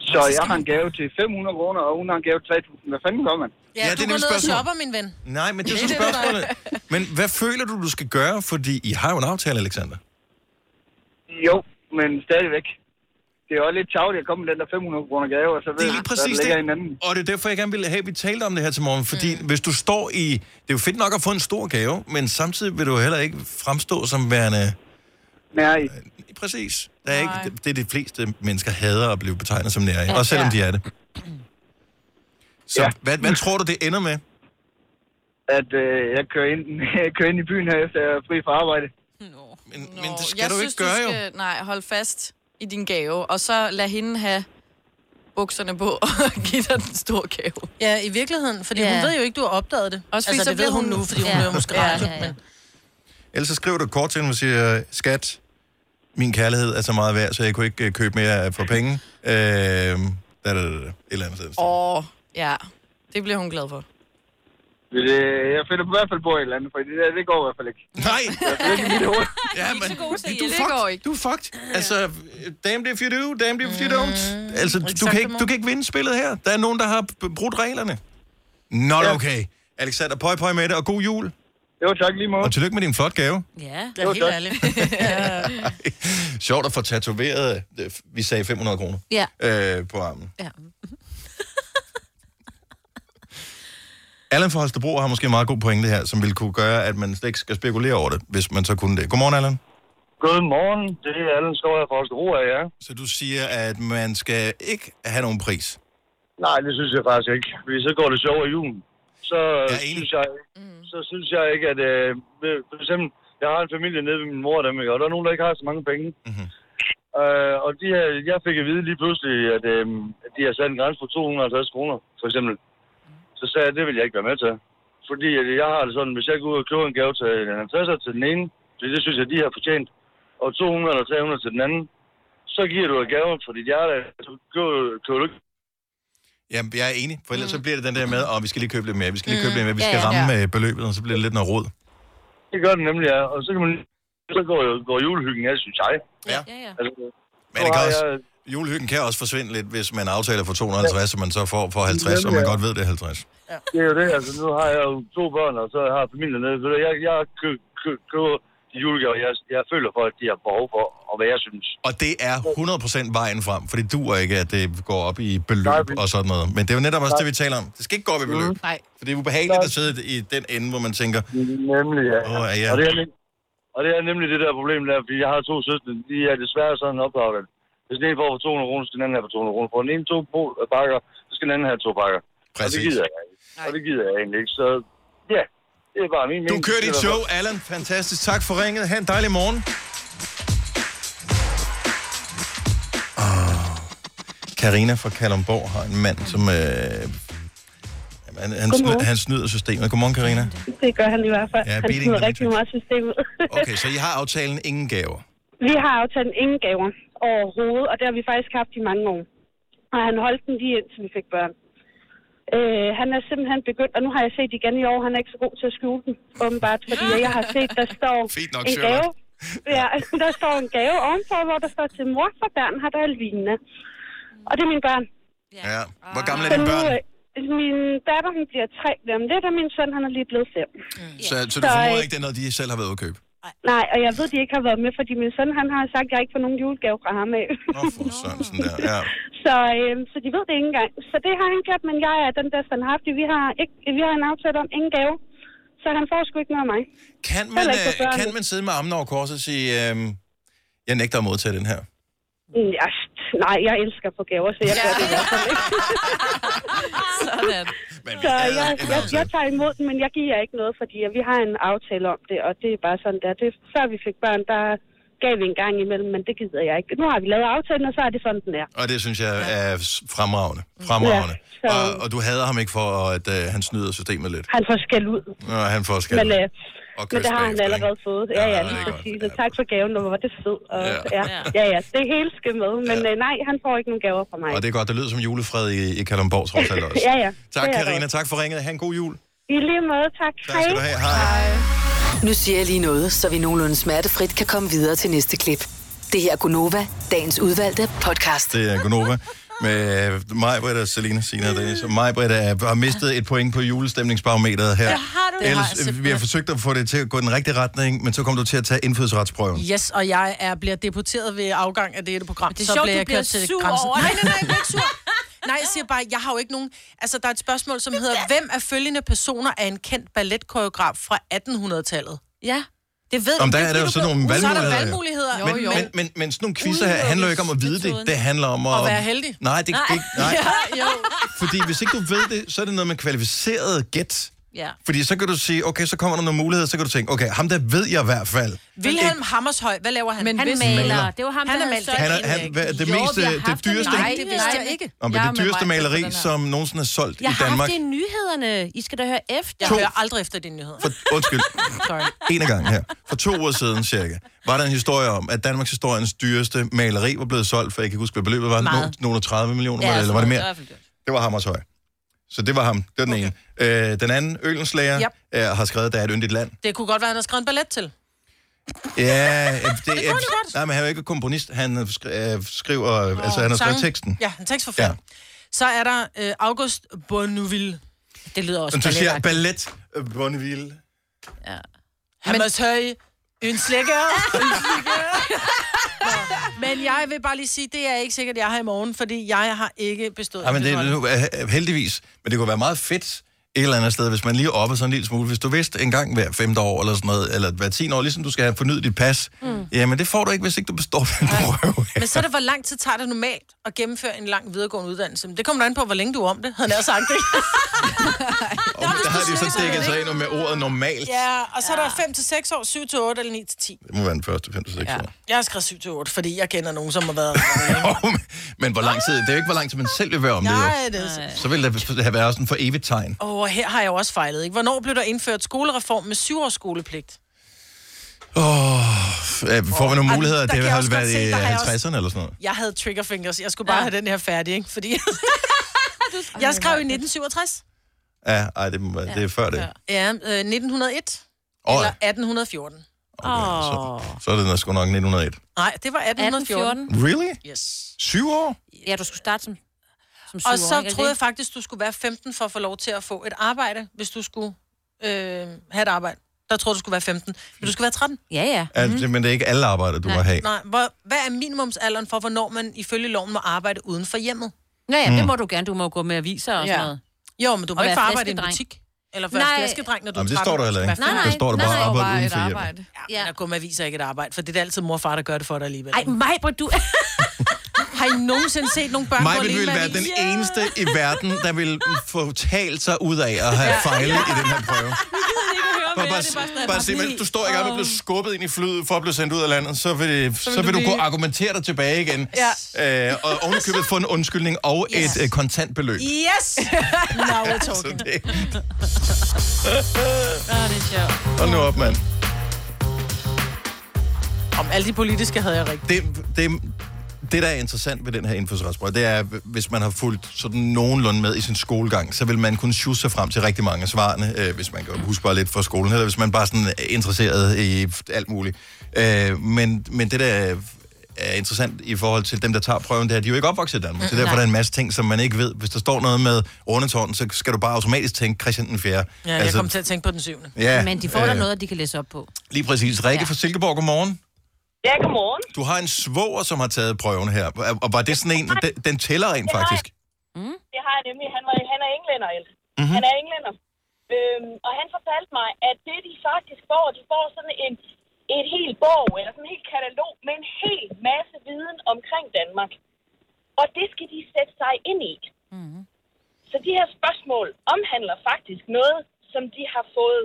Så jeg har en gave til 500 kroner, og hun har en gave til 3.000. Hvad fanden gør man?
Ja, det er nemlig spørgsmålet.
min ven.
Nej, men det er sådan spørgsmålet. Men hvad føler du, du skal gøre? Fordi I har jo en aftale, Alexander.
Jo, men stadigvæk. Det er jo lidt tavligt at komme med den der 500 kroner gave, og så ved
Det er lige
man,
præcis
der ligger en
det.
anden.
Og det er derfor, jeg gerne ville have, at vi talte om det her til morgen. Fordi mm. hvis du står i... Det er jo fedt nok at få en stor gave, men samtidig vil du heller ikke fremstå som værende... Øh,
Nej.
Præcis. Der er ikke, det er de fleste mennesker hader at blive betegnet som nære. Ja, også selvom ja. de er det. Så ja. hvad, hvad tror du, det ender med?
At øh, jeg, kører ind, jeg kører ind i byen her, efter jeg er fri fra arbejde.
Nå,
men
det skal
jeg
du
synes,
ikke gøre,
du
jo.
skal, Nej, hold fast i din gave, og så lad hende have bukserne på og give dig den store gave.
Ja, i virkeligheden, fordi hun ved jo ikke, du har opdaget det.
Også fordi
altså,
så
det ved
bliver
hun
hun-
nu, fordi hun
Ja.
hører måske
Ja,
radio,
ja, ja.
men...
Ellers så skriver du et kort til hende og siger, skat, min kærlighed er så meget værd, så jeg kunne ikke øh, købe mere for penge. Øh, da, da, da, da, et eller andet sted.
Åh, oh, ja. Det bliver hun glad for.
Øh, Jeg finder i hvert fald på et eller andet, for det, der, det går i hvert fald ikke.
Nej!
Ja, men
Du er fucked. Du er fucked. Altså, damn if you do, damn if you don't. Altså, du, du, kan ikke, du kan ikke vinde spillet her. Der er nogen, der har b- brudt reglerne. Not
Ja.
okay. Alexander, pøj pøj med det, og god jul.
Jo, tak lige måde.
Og tillykke med din flot gave.
Ja,
det er helt ærligt.
Sjovt at få tatoveret, øh, vi sagde 500 kroner
Ja.
øh, på armen.
Ja.
Allan fra Holstebro har måske en meget god pointe her, som ville kunne gøre, at man slet ikke skal spekulere over det, hvis man så kunne det. Godmorgen, Allan.
Godmorgen, det er Allen Skov her fra Holstebro, af ja.
Så du siger, at man skal ikke have nogen pris?
Nej, det synes jeg faktisk ikke. Fordi så går det sjovere i julen. Så, ja, synes jeg, så synes jeg ikke, at... Øh, ved- for eksempel, jeg har en familie nede ved min mor og dem, ikke? og der er nogen, der ikke har så mange penge.
Mhm.
Mm-hmm. Øh, og de her, jeg fik at vide lige pludselig, at, øh, at de har sat en grænse på 250 kroner, for eksempel. Så sagde jeg, det vil jeg ikke være med til. Fordi at jeg har det sådan, hvis jeg går ud og køber en gave til en 50'er til den ene, fordi det synes jeg, de har fortjent, og 200 eller 300 til den anden, så giver du en gave for dit hjerte, så køber køber du ikke
Jamen, jeg er enig, for ellers mm. så bliver det den der med, at vi skal lige købe lidt mere, vi skal lige købe lidt mere, vi
Mm. Ja,
skal
ja.
ramme ja. beløbet, og så bliver det lidt noget råd.
Det gør den nemlig, ja. Og så kan man så går, går julehyggen af, synes jeg.
Ja.
ja.
Altså,
Men det kan også, julehyggen kan også forsvinde lidt, hvis man aftaler for 250, og man så får for 50, og man
Nemlig, ja.
godt ved, det er 50.
Det er jo det, altså nu har jeg jo to børn, og så har jeg familien nede. Så jeg, jeg kø- kø- køber de julegaver, jeg, jeg føler for, at de har behov for, og hvad jeg synes.
Og det er 100% vejen frem, for det dur ikke, at det går op i beløb og sådan noget. Men det er jo netop også det, vi taler om. Det skal ikke gå op i
Mm.
beløb.
Nej.
For det er ubehageligt at sidde i den ende, hvor man tænker...
Nemlig, ja.
Åh, ja.
Og, det er, nem- og det er nemlig det der problem der, fordi jeg har to søstre, de er desværre sådan opdraget. at Hvis den ene får for 200 kroner, så skal den anden have for 200 kroner. Får den ene to po- pakker, så skal den anden have to pakker. Og det
Præcis.
gider jeg ikke. Og det gider jeg egentlig ikke. Så ja, det er bare min
Du
mening.
kører dit
Det er
show,
derfor-
Allan. Fantastisk. Tak for ringet. Ha' en dejlig morgen. Ah. Karina fra Kalumborg har en mand, som... Øh, jamen, han, han, snyder,
Godmorgen.
han snyder systemet. Godmorgen, Karina.
Det gør han i hvert fald.
Ja,
Ja, han
beating
smider
the
rigtig meget systemet.
Okay, så I har aftalen ingen gaver.
vi har aftalt ingen gaver overhovedet, og det har vi faktisk haft i mange år. Og han holdt den lige indtil vi fik børn. Øh, han er simpelthen begyndt, og nu har jeg set igen i år, han er ikke så god til at skjule den, åbenbart, fordi jeg har set, der står
Fint nok,
en
Sherlock.
gave. Ja, der står en gave ovenfor, hvor der står til mor for Bernhard og Alvina. Og det er mine børn.
Ja. Hvor gamle er
Så
dine
nu,
børn?
øh, Min datter, hun bliver tre lige om lidt, og min søn, han er lige blevet fem.
Så, så du
Så,
formoder
øh,
ikke, det er noget, de selv har været ude at købe?
Nej, og jeg ved, de ikke har været med, fordi min søn han har sagt, at jeg ikke får nogen julegave fra ham af.
Sådan der. Ja.
så, øh, så de ved det ikke engang. Så det har han gjort, men jeg er den der standhaftige. Vi har, ikke, vi har en aftale om ingen gave. Så han får sgu ikke noget af mig.
Kan man,
Heller ikke for
øh,
børnene.
kan man sidde med armene over korset og sige, øh, jeg nægter at modtage den her?
Mm, Ja, st- nej, jeg elsker at få gaver, så jeg gør det i hvert fald ikke.
Sådan.
Så jeg, jeg, jeg tager imod den, men jeg giver ikke noget, fordi vi har en aftale om det, og det er bare sådan der. Det, før vi fik børn, der gav vi en gang imellem, men det gider jeg ikke. Nu har vi lavet aftalen, og så er det sådan, den er.
Og det synes jeg er s- fremragende. Fremragende.
Ja, så-
og, og du hader ham ikke for, at øh, han snyder systemet lidt.
Han får skæld ud.
Nå, han får skæld.
Men, øh,
Og
men
kys
det har han
bagefter,
allerede fået. Ja,
det
ja,
er
lige
godt.
præcis. Og tak for gaven, og hvor var det fedt. Og,
Ja.
ja. ja, ja, det hele skal med. Men øh, nej, han får ikke nogen gaver fra mig.
Og det er godt, det lyder som julefred i, i Kalundborg, trods alt også.
Ja, ja.
Tak,
Det er
Karina. Tak for ringet. Ha' en god jul.
I lige måde, tak.
Tak skal du have. Hej.
Nu siger jeg lige noget, så vi nogenlunde smertefrit kan komme videre til næste klip. Det her er Gunova, dagens udvalgte podcast.
Det er Gunova med øh, mig, Britt og Selina, Sina og Dennis. Mig, Britt, har mistet et point på julestemningsbarometeret her.
Det har du. Det har jeg
Ellers, øh,
simpelthen.
vi har forsøgt at få det til at gå i den rigtige retning, men så kom du til at tage indfødsretsprøven.
Yes, og jeg er, bliver deporteret ved afgang af dette program.
Det er sjovt, du bliver sur over det.
Nej, nej, nej, jeg er ikke sur. Nej, jeg siger bare, jeg har jo ikke nogen... Altså, der er et spørgsmål, som hedder, hvem af følgende personer er en kendt balletkoreograf fra 1800-tallet?
Ja, det ved
Om der er der jo sådan nogle valgmuligheder.
Så er der
jo.
valgmuligheder.
Men, Men, men, men sådan nogle quizzer her handler jo ikke om at vide det. Det handler om at...
At være heldig.
Nej, det, det nej.
Ja, jo.
Fordi hvis ikke du ved det, så er det noget med kvalificeret gæt.
Ja.
Fordi så kan du sige, okay, så kommer der nogle muligheder, så kan du tænke, okay, ham der ved jeg i hvert fald.
Vilhelm Hammershøj, hvad laver han?
Men han
hvis-
maler. Det var ham,
Han
der
er
havde
maler.
solgt
Han er-
en-
han- hvad- det
Jo,
mest,
vi har
øh, det
haft en-
dyreste-
Nej,
Nej,
det
det
vidste jeg ikke.
Om det,
Jeg
er
er
det
med
dyreste
mig på
maleri,
den her.
som nogensinde er solgt
Jeg
i
har
Danmark.
haft det i nyhederne. I skal da høre efter.
Jeg To. hører
aldrig efter dine nyheder.
For, undskyld. En af gangen her. For to uger siden cirka, var der en historie om, at Danmarks historiens dyreste maleri var blevet solgt, for jeg kan ikke huske, hvad beløbet var.
Meget.
Nogle- Nogle 30 millioner,
Ja,
ja, eller var det
sådan
mere?
noget. Det var i hvert fald
Det var Hammershøj. Så det var ham. Det var den okay. ene. Øh, den anden, Ølens Lærer,
Yep.
yep. er, har skrevet, der er et yndigt land.
Det kunne godt være, han har skrevet en ballet
Altså,
til.
Ja, øh, det,
kunne han
det
jo godt.
Nej, men han er jo ikke komponist. Han øh, skri- øh, skriver, oh, altså han har skrevet
Sange.
teksten.
Ja, en tekstforfatter. Ja.
Ja.
Så er der øh, August Bonneville. Det lyder
Men du siger ballet, øh, Bonneville.
Ja. Hammershøj. En slikker. Men jeg vil bare lige sige, det er ikke sikkert, jeg har i morgen, fordi jeg har ikke bestået.
Ja, men det er nu, øh, heldigvis. Men det kunne være meget fedt et eller andet sted, hvis man lige opper sådan en lille smule. Hvis du vidste en gang hver femte år, eller sådan noget, eller hver tiende år, ligesom du skal have fornyet dit pas. Mm. Jamen, det får du ikke, hvis ikke du består den prøve.
Men så er det, hvor lang tid tager det normalt at gennemføre en lang videregående uddannelse? Men Det kommer an på, hvor længe du er om det, havde jeg nær sagt det.
Og der har de jo så dækket sig ind med ordet normalt.
ja, og så er der 5 til 6 år, 7 til 8 eller 9 til 10.
Det må være den første femte, seks
Ja.
år.
Jeg har skrevet 7 til 8, fordi jeg kender nogen, som har været...
Men hvor lang tid? Det er jo ikke, hvor lang tid man selv vil være om det. jo.
Nej, det er
Så vil der have været sådan en for evigt tegn.
Åh, oh, her har jeg også fejlet, ikke? Hvornår blev der indført skolereform med 7 års skolepligt?
Åh, øh, får vi nogle
Ej,
muligheder?
der
Det
kan jeg også
har været
godt se,
i
der har jeg
50'erne
også-
eller sådan noget.
Jeg havde triggerfingers. Jeg skulle bare ja. have den her færdig, ikke? Fordi... jeg skrev i 1967.
Ja, ej, det, må være- det er før det.
Ja, øh, 1901.
Åh,
Eller 1814.
Åh. Så er det nok sgu nok 1901.
Nej, det var 1814.
1814.
Really?
Yes.
Syv år?
Ja, du skulle starte som, som syvårig,
Og så
ikke?
troede jeg faktisk, du skulle være 15 for at få lov til at få et arbejde, hvis du skulle øh, have et arbejde. Der troede du skulle være 15. Men du skulle være 13.
Ja, ja.
Er det, men det er ikke alle arbejder, du må have.
Mhm. Nej, hvor, hvad er minimumsalderen for, hvornår man ifølge loven må arbejde uden for hjemmet?
Nå ja, det
Mm.
må du gerne. Du må jo gå med aviser og
Ja.
sådan noget.
Jo, men du må
Og
ikke få
være
arbejde i en
flæskedreng.
butik. Eller være
Nej.
flæskedreng, når du
Jamen, det
er 13.
står der heller ikke.
Hvad fanden?
Der står der bare arbejde uden for hjemmet.
Ja, men at gå med aviser er ikke et arbejde, for det er altid mor og far, der gør det for dig alligevel.
Ej, mig, hvor du...
Har I nogensinde set nogle børn,
Mig
gå alene
vil
med
være
avis?
den eneste i verden, der vil få talt sig ud af at have fejlet i den her prøve. Bare, bare, bare se, men du står i gang med at blive skubbet ind i flyet for at blive sendt ud af landet, så vil, så vil du
blive-
kunne argumentere dig tilbage igen.
Ja.
Øh, og ovenikøbet få en undskyldning og
Yes.
et øh, kontantbeløb.
Yes! Now we're
Så
talking.
det,
Åh, det er sjovt.
hold nu op, mand.
Om alle de politiske havde jeg rigtigt.
det, det, det, der er interessant ved den her indfødsretsprøve, det er, hvis man har fulgt sådan nogenlunde med i sin skolegang, så vil man kunne sjusse sig frem til rigtig mange af svarene, øh, hvis man kan huske bare lidt fra skolen, eller hvis man bare sådan er interesseret i alt muligt. Øh, men, men det, der er interessant i forhold til dem, der tager prøven, det er, at de er jo ikke opvokset i Danmark. Så
Mm,
derfor er
nej.
der en masse ting, som man ikke ved. Hvis der står noget med rundetårn, så skal du bare automatisk tænke Christian den 4.
Ja, jeg kom til at tænke på den syvende.
Altså-
Mhm.
Ja,
Men de får da
øh,
noget, de kan læse op på.
Lige præcis. Rikke ja. fra Silkeborg, godmorgen.
Ja, godmorgen.
Du har en svoger, som har taget prøven her. Og- Og var det sådan en, den, den tæller rent
Det har
faktisk?
Mm. Det har jeg nemlig. Han, var, han er englænder, Else.
Mhm.
Mm-hmm. Han er englænder. Øhm, og han fortalte mig, at det de faktisk får, de får sådan en, et helt bog, eller sådan en helt katalog, med en hel masse viden omkring Danmark. Og det skal de sætte sig ind i. Mm-hmm. Så de her spørgsmål omhandler faktisk noget, som de har fået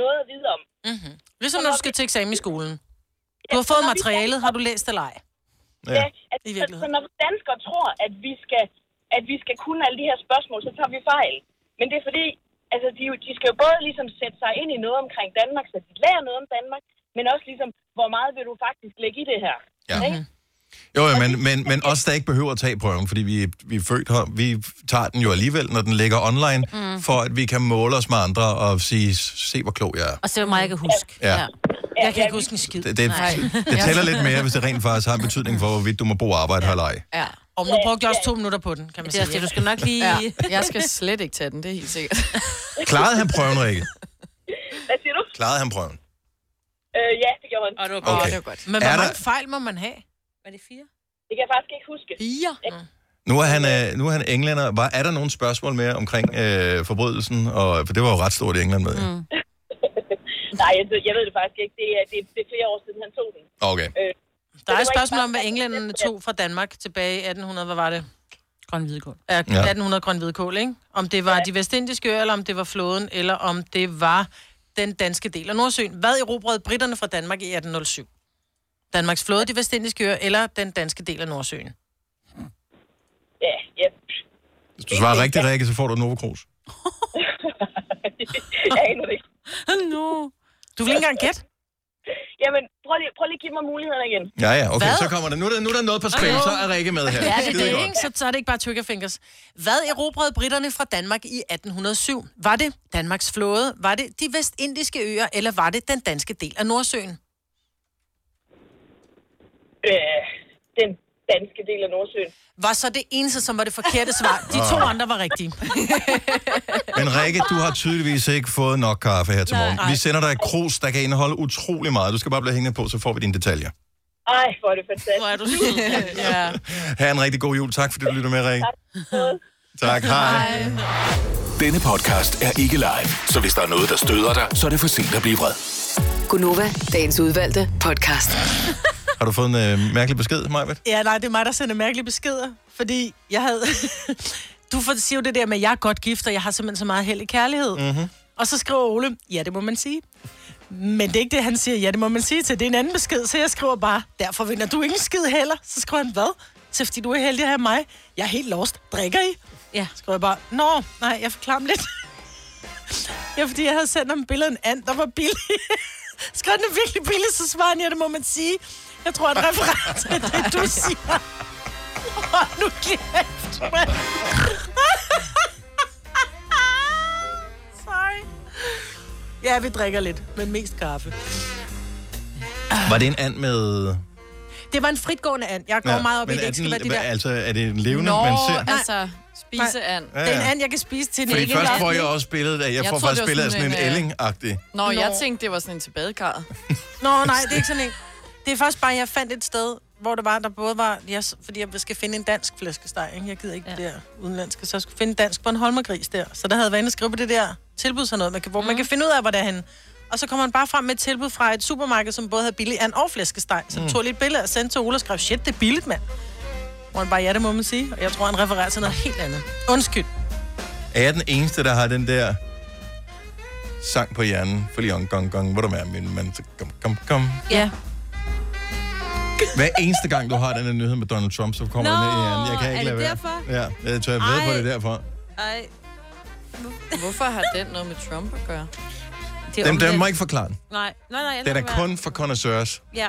noget at vide om.
Mm-hmm. Ligesom når du skal til eksamen i skolen. Du har fået materialet, har du læst det eller ej?
Ja. Altså, I så, så når vi danskere tror, at vi skal, at vi skal kunne alle de her spørgsmål, så tager vi fejl. Men det er fordi, altså, de, jo- de skal jo både ligesom sætte sig ind i noget omkring Danmark,
Mhm.
så de lærer noget om Danmark, men også ligesom, hvor meget vil du faktisk lægge i det her?
Ja.
Ikke?
Jo, ja, men, men, men os, der ikke behøver at tage prøven, fordi vi, vi er født her, vi tager den jo alligevel, når den ligger online, mm.
Mhm.
Mm.
for at vi kan måle os med andre og sige, se hvor klog jeg er.
Og så meget, jeg kan huske.
Ja.
Jeg kan ikke huske en skid.
Det, det, det tæller lidt mere, hvis det rent faktisk har en betydning for, hvorvidt du må bo og arbejde her eller ej.
Ja.
Og nu brugte jeg også to minutter på den, kan man
Det er også
sige.
det, du skal nok lige-
Jeg skal slet ikke tage den, det er helt sikkert.
Klarede han prøven, Rikke?
Hvad siger du?
Klarede han prøven?
Øh, ja, det gjorde han. Og det
var godt. Okay. Åh, det var godt.
Men hvor
Er der-
mange fejl må man have?
Var det fire?
Det kan jeg faktisk ikke huske.
Fire?
Nu er han, øh, nu er han englænder. Var, er der nogle spørgsmål mere omkring øh, forbrydelsen? Og, for det var jo ret stort i England med. Mm.
Nej, jeg, jeg ved det faktisk ikke. Det er, det, det er flere år siden, han tog den.
Okay.
Øh,
Der er et spørgsmål om, hvad englænderne tog fra Danmark tilbage i 1800, hvad var det?
Grøn hvidkål.
Ja, 1800 grøn hvidkål, ikke? Om det var de vestindiske øer, eller om det var flåden, eller om det var den danske del af Nordsøen. Hvad erobrede britterne fra Danmark i 1807? Danmarks flåde, de vestindiske øer, eller den danske del af Nordsøen?
ja, ja.
Hvis du svarer rigtigt, Rikke, så får du et Novo Cruz.
jeg aner det ikke.
no.
Du vil ikke engang gætte?
Jamen, prøv lige, prøv lige at give mig mulighederne igen.
Ja, ja, okay,
Hvad?
så kommer det. Nu er der, nu er der noget på spil,
Okay.
så er Rikke med her.
Ja, det er
Skide
det,
godt.
ikke? Så, så er det ikke bare trigger fingers. Hvad erobrede britterne fra Danmark i 1807? Var det Danmarks flåde? Var det de vestindiske øer? Eller var det den danske del af Nordsøen?
Øh, den danske del af Nordsøen.
Var så det eneste, som var det forkerte svar. De to
Ah.
andre var rigtige.
Men Rikke, du har tydeligvis ikke fået nok kaffe her til
Nej.
morgen.
Nej.
Vi sender dig et krus, der kan indeholde utrolig meget. Du skal bare blive hængende på, så får vi dine detaljer.
Ej, hvor er det fantastisk. Hvor er du sød.
ja.
Ha' en rigtig god jul. Tak fordi du lytter med, Rikke. Tak, hej.
Denne podcast er ikke live, så hvis der er noget, der støder dig, så er det for sent at blive vred.
Gunova, dagens udvalgte podcast.
Har du fået en øh, mærkelig besked, Majbet?
Ja, nej, det er mig, der sender mærkelige beskeder, fordi jeg havde... du får- siger jo det der med, at jeg er godt gift, og jeg har simpelthen så meget held i kærlighed.
Mhm.
Og så skriver Ole, ja, det må man sige. Men det er ikke det, han siger, ja, det må man sige til. Det er en anden besked, så jeg skriver bare, derfor vinder du ikke en skid heller. Så skriver han, hvad? Så fordi du er heldig at have mig. Jeg er helt lost. Drikker I?
Ja.
Så skriver jeg bare, nå, nej, jeg forklarer ham lidt. ja, fordi jeg havde sendt ham billedet af en and, der var billig. skrev den er virkelig billig, så svarer han, ja, det må man sige. Jeg tror, at referat er det, du siger. Hold nu kæft, mand. Sorry. Ja, vi drikker lidt, men mest kaffe. Ah.
Var det en and med...
Det var en fritgående and. Jeg går ja, meget op i,
men
det
er
ikke skal
den-
være de
hvad-
der...
Altså, er det en levende,
Nå,
man ser?
nej.
Altså, spiseand.
Ja,
Ja,
ja.
ja. Det er en and, jeg kan spise til den
Fordi
ikke
først
lader
får
den.
jeg også billedet af, jeg,
Jeg
får
troede,
faktisk
det var
billedet af sådan
sådan
en
en, øh,
elling-agtig.
Nå, jeg
Nå.
tænkte, det var sådan en til badekarret.
Nå, nej, det er ikke sådan en. Det er faktisk bare, jeg fandt et sted, hvor det var, der både var... Jeg, fordi jeg skal finde en dansk flæskesteg, ikke? Jeg gider ikke ja. det der udenlandske. Så jeg skulle finde en dansk Bornholmergris der. Så der havde jeg været inde og skrive på det der tilbud, sådan noget, man kan, hvor mm. man kan finde ud af, hvor det er henne. Og så kommer han bare frem med et tilbud fra et supermarked, som både havde billig and og flæskesteg. Så
Mm.
mm. tog jeg lige et billede og sendte til Ole og skrev, shit, det er billigt, mand. Hvor han bare, ja, det må man sige. Og jeg tror, han refererer til noget helt andet. Undskyld.
Er jeg den eneste, der har den der sang på hjernen? For lige gong, gong, hvor du er min mand. så Kom, kom, kom.
Ja.
Hver eneste gang, du har den her nyhed med Donald Trump, så kommer
Nå,
den ned i hjernen. Jeg kan ikke
er det
lade være.
derfor?
Ja, jeg tør jeg ved på
Ej.
det er derfor.
Ej. Hvorfor har den noget med Trump at gøre?
Det dem, dem må ikke forklare den.
Nej, nej, nej. jeg
Det er da
lader være.
kun for connoisseurs.
Ja.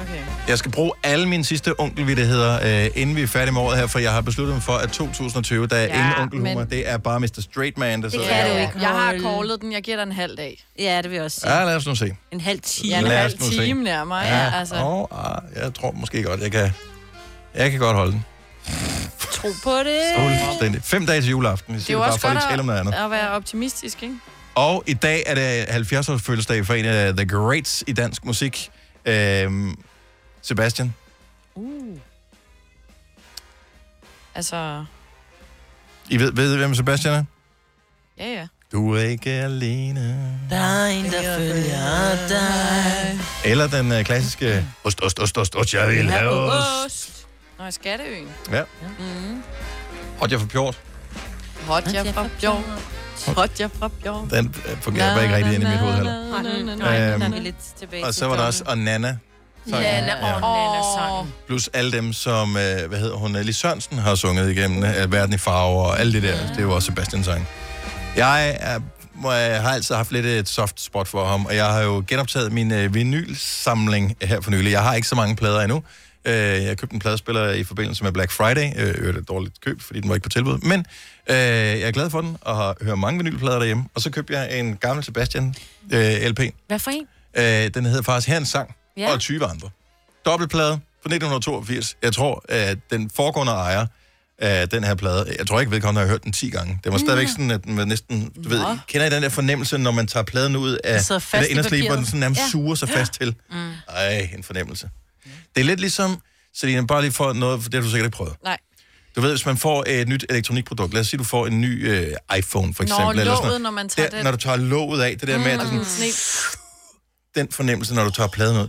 Okay.
Jeg skal bruge alle mine sidste onkelvittigheder, øh, inden vi er færdige med året her, for jeg har besluttet mig for, at 2020, der er
Ja,
ja, ingen onkelhumor.
men-
Det er bare Mr. Straight Man, der
Det
sidder
kan
herovre.
du ikke. Jeg har callet den. Jeg giver dig en halv dag.
Ja, det vil jeg også
Ja, lad os nu se.
En halv time.
Ja, en
Lad os
halv
nu se.
time nærmere. Ja,
Ja,
altså.
og, ah, jeg tror måske godt, jeg kan, jeg kan godt holde den.
Tro på det.
Fuldstændig. Fem dage til juleaften, hvis
Det er
det
jo
bare
også
for at tale om noget
godt
andet.
at, at være optimistisk, ikke?
Og i dag er det 70 års fødselsdag for en af The Greats i dansk musik. Øhm, Sebastian.
Uh. Altså,
I ved, ved I, hvem Sebastian er?
ja ja.
Du er ikke alene.
Der er en, der følger dig.
Eller den øh, klassiske... Ost, ost, ost, ost, ost, jeg vil have ost.
ost. Nå, i Skatteøen.
Ja.
Mm.
Hot, jeg for pjort.
Hot, jeg fra Bjørn. Hot, jeg fra Bjørn.
Den øh, fungerer bare ikke rigtig ind i mit hoved heller.
Nej, nej, nej,
Øhm,
nej. Der er vi lidt tilbage
Og
til
så var der
John.
også og Nana. Sangen. Ja.
Nana-sang.
Plus alle dem, som, øh, hvad hedder hun, Ellie Sørensen har sunget igennem øh, Verden i farver og alt det der. Det er jo også Sebastians sang. Jeg er, må, jeg har altid haft lidt et soft spot for ham, og jeg har jo genoptaget min øh, vinylsamling her for nylig. Jeg har ikke så mange plader endnu, Øh, jeg købte en pladespiller i forbindelse med Black Friday. Øh, øvrigt et dårligt køb, fordi den var ikke på tilbud. Men øh, jeg er glad for den, og har hørt mange vinylplader derhjemme. Og så købte jeg en gammel Sebastian øh, LP.
Hvad for en?
Øh, den hedder faktisk Her en sang,
Ja.
ja. og 20 andre. Dobbeltplade fra 1982. Jeg tror, at den foregående ejer af den her plade, jeg tror ikke, vedkommende har hørt den 10 gange. Det var
Mm.
stadigvæk sådan, at den var næsten, du ved, kender I den der fornemmelse, når man tager pladen ud af
Den
Altså,
sidder fast i
den der hvor
papiret.
den sådan nærmest
Ja.
ja. suger sig
Ja.
fast til.
Mm.
Ej, en fornemmelse. Det er lidt ligesom, Selina, bare lige for noget, for det har du sikkert ikke prøvet.
Nej.
Du ved, hvis man får et nyt elektronikprodukt, lad os sige, du får en ny øh, iPhone for
Nå,
eksempel. eller sådan
låget,
noget.
når man tager
der,
den.
Når du tager låget af, det der mm. med, at det er sådan, den fornemmelse, når du tager pladen ud.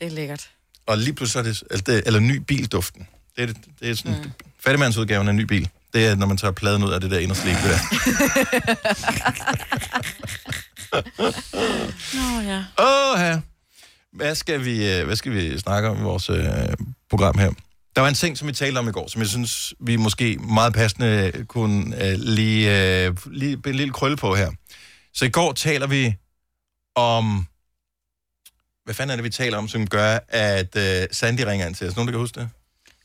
Det er lækkert.
Og lige pludselig er det, altså det eller ny bilduften. Det er, det, det er sådan, mm. fattigmandsudgaven af en ny bil. Det er, når man tager pladen ud af det der inderslip der.
Nå ja.
Åh, ja. Hvad skal, vi, øh, hvad skal vi snakke om i vores øh, program her? Der var en ting, som vi talte om i går, som jeg synes, vi måske meget passende kunne øh, lige, øh, lige binde en lille krølle på her. Så i går taler vi om... Hvad fanden er det, vi taler om, som gør, at øh, Sandy ringer ind til os? Nogen, der kan huske det?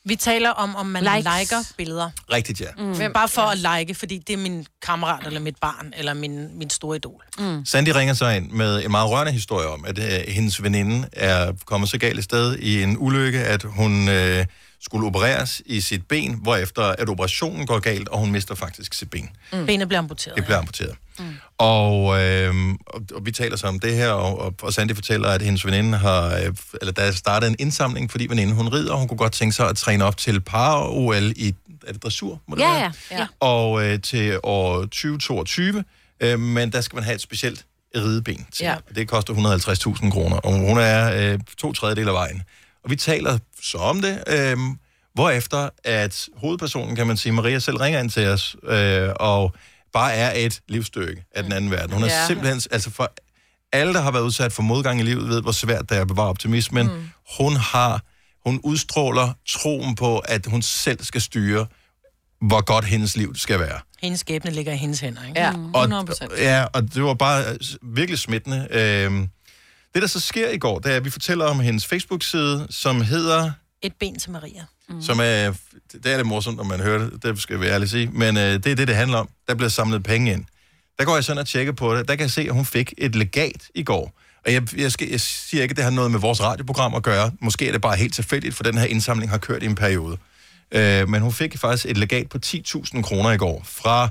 Vi taler om, om man
Likes.
Likes. liker billeder.
Rigtigt, ja.
Mm. Hvem? Bare for at like, fordi det er min kammerat, eller mit barn, eller min, min store idol. Mm.
Sandy ringer så ind med en meget rørende historie om, at øh, hendes veninde er kommet så galt et sted i en ulykke, at hun øh, skulle opereres i sit ben, hvorefter at operationen går galt, og hun mister faktisk sit ben.
Mm. Benet bliver amputeret.
Det bliver amputeret. Mm. Og, øh, og, og vi taler så om det her, og, og, og Sandy fortæller, at hendes veninde har, øh, eller der er startet en indsamling, fordi veninden hun rider, og hun kunne godt tænke sig at træne op til par-OL i, er det dressur? Må det
Ja,
være?
ja. ja.
og øh, til år 2022, øh, men der skal man have et specielt rideben til.
Ja.
Ja. Det koster 150.000 kroner, og hun er øh, to tredjedel af vejen. Og vi taler så om det, øh, hvorefter at hovedpersonen, kan man sige, Maria selv ringer ind til os, øh, og bare er et livsstykke af den anden verden. Hun er
Ja.
simpelthen, altså for alle, der har været udsat for modgang i livet, ved, hvor svært det er at bevare optimismen. Mm. Hun har, hun udstråler troen på, at hun selv skal styre, hvor godt hendes liv skal være.
Hendes skæbne ligger i hendes hænder, ikke? Mm.
Ja,
Og, ja, og det var bare øh, s- virkelig smittende. Øhm, det, der så sker i går, det er, at vi fortæller om hendes Facebook-side, som hedder,
Et ben til Maria.
mm. som er, det er lidt morsomt, når man hører det, det skal jeg ærligt sige, men øh, det er det, det handler om. Der bliver samlet penge ind. Der går jeg sådan og tjekker på det, der kan jeg se, at hun fik et legat i går. Og jeg, jeg, skal, jeg siger ikke, at det har noget med vores radioprogram at gøre. Måske er det bare helt tilfældigt, for den her indsamling har kørt i en periode. Øh, men hun fik faktisk et legat på 10.000 kroner i går fra...